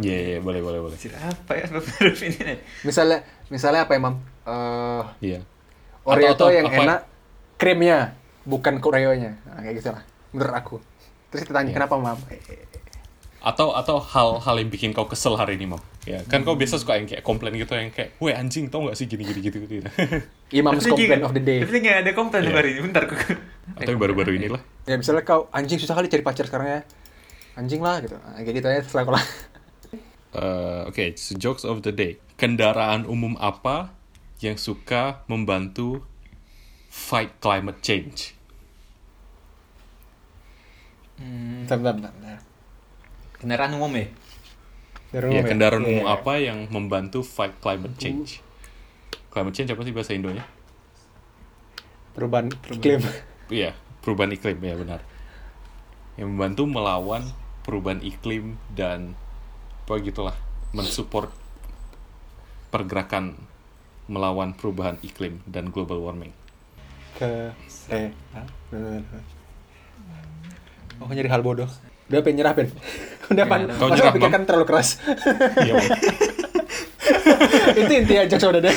Speaker 2: Iya, iya, iya, boleh, boleh, boleh.
Speaker 4: Anjir, apa ya sebab huruf ini nih?
Speaker 3: Misalnya, misalnya apa Imam? Eh,
Speaker 2: Iya.
Speaker 3: Oreo
Speaker 2: Atau- atau
Speaker 3: tuh yang
Speaker 2: apa-
Speaker 3: enak krimnya, bukan Oreo-nya. Nah, kayak gitu lah. Menurut aku. Terus ditanya
Speaker 2: Iya.
Speaker 3: kenapa Mam?
Speaker 2: Atau atau hal-hal yang bikin kau kesel hari ini, Mam. Ya, kan kau biasa suka yang kayak komplain gitu, yang kayak, weh anjing, tau gak sih gini-gini gitu. gitu.
Speaker 3: Imam's
Speaker 4: Tapi
Speaker 3: complaint
Speaker 4: gini-
Speaker 3: of the day.
Speaker 4: Tapi nggak ada komplain
Speaker 2: Iya.
Speaker 4: hari ini. Bentar. Kok.
Speaker 2: atau yang baru-baru inilah.
Speaker 3: Ya misalnya kau anjing susah kali cari pacar sekarang ya. Anjing lah gitu. Nah, Kayak gitu aja selaku lah.
Speaker 2: Eh, Oke, so jokes of the day. Kendaraan umum apa yang suka membantu fight climate change?
Speaker 3: Hmm, Bentar, bentar, bentar, bentar.
Speaker 4: Kendaraan umum ya?
Speaker 3: Dari
Speaker 2: Ya,
Speaker 3: umum
Speaker 2: kendaraan
Speaker 3: Iya.
Speaker 2: umum apa yang membantu fight climate change? Climate change apa sih bahasa Indonya?
Speaker 3: Perubahan iklim.
Speaker 2: Iya, perubahan iklim ya benar. Yang membantu melawan perubahan iklim dan apa gitulah, mensupport pergerakan melawan perubahan iklim dan global warming.
Speaker 3: Ke eh. hah? Bentar, bentar, bentar. Oh, nyari hal bodoh. Udah pengen nyerah, Pen. Udah pan.
Speaker 2: Kau
Speaker 3: Masa
Speaker 2: nyerah,
Speaker 3: pikirkan terlalu keras.
Speaker 2: Iya, Bang.
Speaker 3: Itu inti aja udah deh.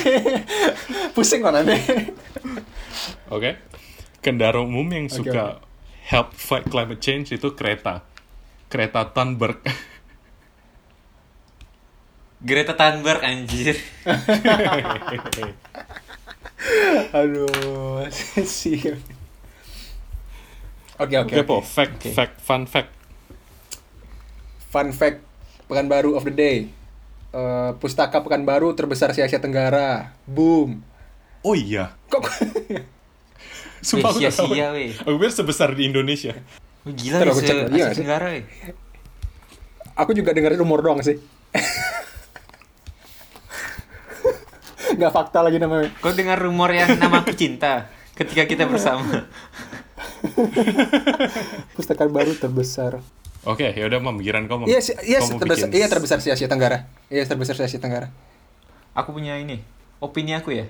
Speaker 3: Pusing kok nanti.
Speaker 2: Oke. Kendaraan umum yang
Speaker 3: Oke,
Speaker 2: suka help fight climate change itu kereta. Kereta Thunberg.
Speaker 4: Greta Thunberg anjir.
Speaker 3: Aduh, sih. Oke, oke.
Speaker 2: Oke,
Speaker 3: oke.
Speaker 2: Po. Fact,
Speaker 3: Oke.
Speaker 2: fact, fun fact.
Speaker 3: Fun fact Pekanbaru of the day. Eh, pustaka Pekanbaru terbesar di Asia Tenggara. Boom.
Speaker 2: Oh iya.
Speaker 3: Kok
Speaker 2: Sumpah aku
Speaker 3: Iya
Speaker 4: Weh,
Speaker 2: nggak tahu.
Speaker 4: sia-sia, weh.
Speaker 2: Aku pikir sebesar di Indonesia.
Speaker 4: Wih, Gila
Speaker 3: Ntar
Speaker 4: ya,
Speaker 3: aku cek lagi,
Speaker 4: Asia
Speaker 3: nggak sih?
Speaker 4: Tenggara weh.
Speaker 3: aku juga dengerin rumor doang sih. Gak fakta lagi namanya.
Speaker 4: Kau dengar rumor yang nama aku cinta ketika kita bersama.
Speaker 3: Pustaka baru terbesar.
Speaker 2: Oke, yaudah Mam, giran kau Mam.
Speaker 3: Iya, sih- iya
Speaker 2: Kau mau
Speaker 3: terbesar,
Speaker 2: bikin
Speaker 3: iya terbesar di Asia Tenggara. Iya terbesar di Asia Tenggara.
Speaker 4: Aku punya ini. Opini aku ya.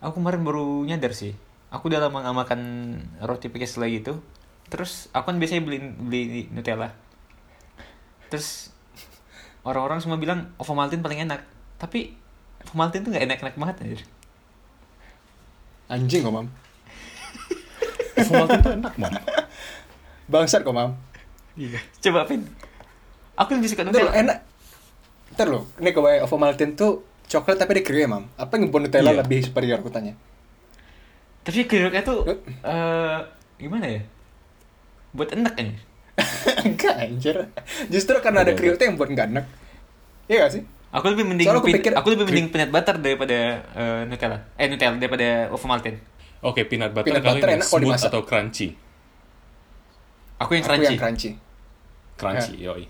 Speaker 4: Aku kemarin baru nyadar sih. Aku udah lama nggak makan roti pakai selai gitu. Terus aku kan biasanya beli beli Nutella. Terus orang-orang semua bilang Ovomaltine paling enak. Tapi Ovomaltine tuh nggak enak-enak banget anjir.
Speaker 3: Anjing kok, Mam.
Speaker 2: Ovomaltine tuh enak, Mam.
Speaker 3: Bangsat kok, Mam.
Speaker 2: Iya.
Speaker 4: Coba Pin. Aku lebih suka
Speaker 3: Ntar lo,
Speaker 4: Nutella.
Speaker 3: enak. Ntar lo, ini kebayang Ovomaltine tuh coklat tapi ada krim, Mam. Apa yang Nutella
Speaker 2: Iya.
Speaker 3: lebih superior, aku tanya.
Speaker 4: Tapi kerupuknya tuh
Speaker 3: Eh?
Speaker 4: eh gimana ya? Buat enak kan?
Speaker 3: Enggak, anjir. Justru karena ada
Speaker 2: Oke,
Speaker 3: kriuknya yang buat nggak enak. Iya gak sih?
Speaker 4: Aku lebih mending
Speaker 3: Soalnya aku
Speaker 4: pin-
Speaker 3: pikir-
Speaker 4: aku lebih mending peanut butter daripada eh, Nutella. Eh Nutella daripada Ovomaltine.
Speaker 2: Oke, peanut butter
Speaker 3: Peanut
Speaker 2: kalian
Speaker 3: butter
Speaker 2: yang
Speaker 3: enak kalau
Speaker 2: smooth
Speaker 3: dimasak.
Speaker 2: atau crunchy?
Speaker 4: Aku yang
Speaker 3: Aku
Speaker 4: crunchy.
Speaker 3: yang crunchy.
Speaker 2: Crunchy, yoi.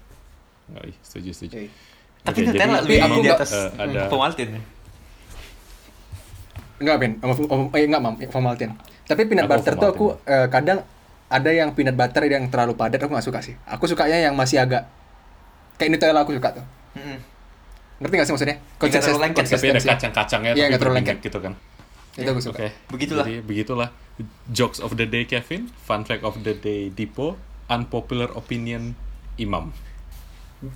Speaker 2: Yoi, setuju, setuju.
Speaker 3: Iya.
Speaker 4: Tapi
Speaker 2: Oke,
Speaker 4: Nutella
Speaker 2: jadi
Speaker 4: lebih
Speaker 3: aku
Speaker 4: di
Speaker 3: nggak-
Speaker 4: atas
Speaker 2: eh, ada-
Speaker 4: Ovomaltine.
Speaker 3: Enggak, Ben. Om, om, eh, enggak, Mam. Ovomaltine. Tapi peanut
Speaker 2: Aku
Speaker 3: butter tuh aku
Speaker 2: Ovomaltine.
Speaker 3: eh, kadang ada yang peanut butter yang terlalu padat aku nggak suka sih. Aku sukanya yang masih agak kayak Nutella aku suka tuh.
Speaker 4: Mm-mm.
Speaker 3: Ngerti gak sih maksudnya?
Speaker 4: Nggak terlalu lengket,
Speaker 2: Tapi ada
Speaker 3: konsistensi.
Speaker 2: kacang-kacangnya,
Speaker 3: Iya,
Speaker 2: tapi
Speaker 3: nggak terlalu
Speaker 2: berminyak
Speaker 3: lengket.
Speaker 2: gitu kan.
Speaker 3: Itu aku suka.
Speaker 2: Oke,
Speaker 4: Begitulah.
Speaker 2: Jadi begitulah jokes of the day Kevin, fun fact of the day Dipo, unpopular opinion Imam.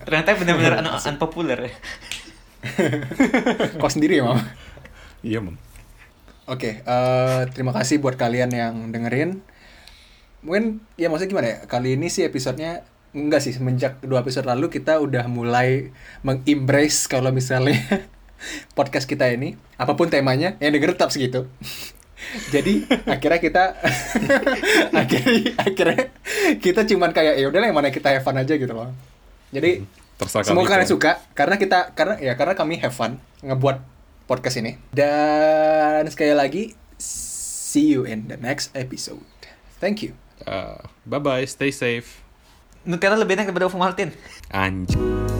Speaker 4: Ternyata benar-benar un- unpopular.
Speaker 3: Kau sendiri ya, Mam.
Speaker 2: Iya, Mam.
Speaker 3: Oke, eh, terima kasih buat kalian yang dengerin. Mungkin ya maksudnya gimana ya? Kali ini sih episodenya enggak sih semenjak dua episode lalu kita udah mulai meng-embrace kalau misalnya podcast kita ini apapun temanya yang denger tetap segitu. Jadi akhirnya kita akhirnya akhirnya kita cuman kayak ya udahlah yang mana kita have fun aja gitu loh. Jadi
Speaker 2: Terserah kalian
Speaker 3: semoga kalian
Speaker 2: itu.
Speaker 3: suka karena kita karena ya karena kami have fun ngebuat podcast ini. Dan sekali lagi see you in the next episode. Thank you.
Speaker 2: bye bye, Uh, stay safe.
Speaker 4: Nutella lebih enak daripada Ovomaltine.
Speaker 2: Anjing.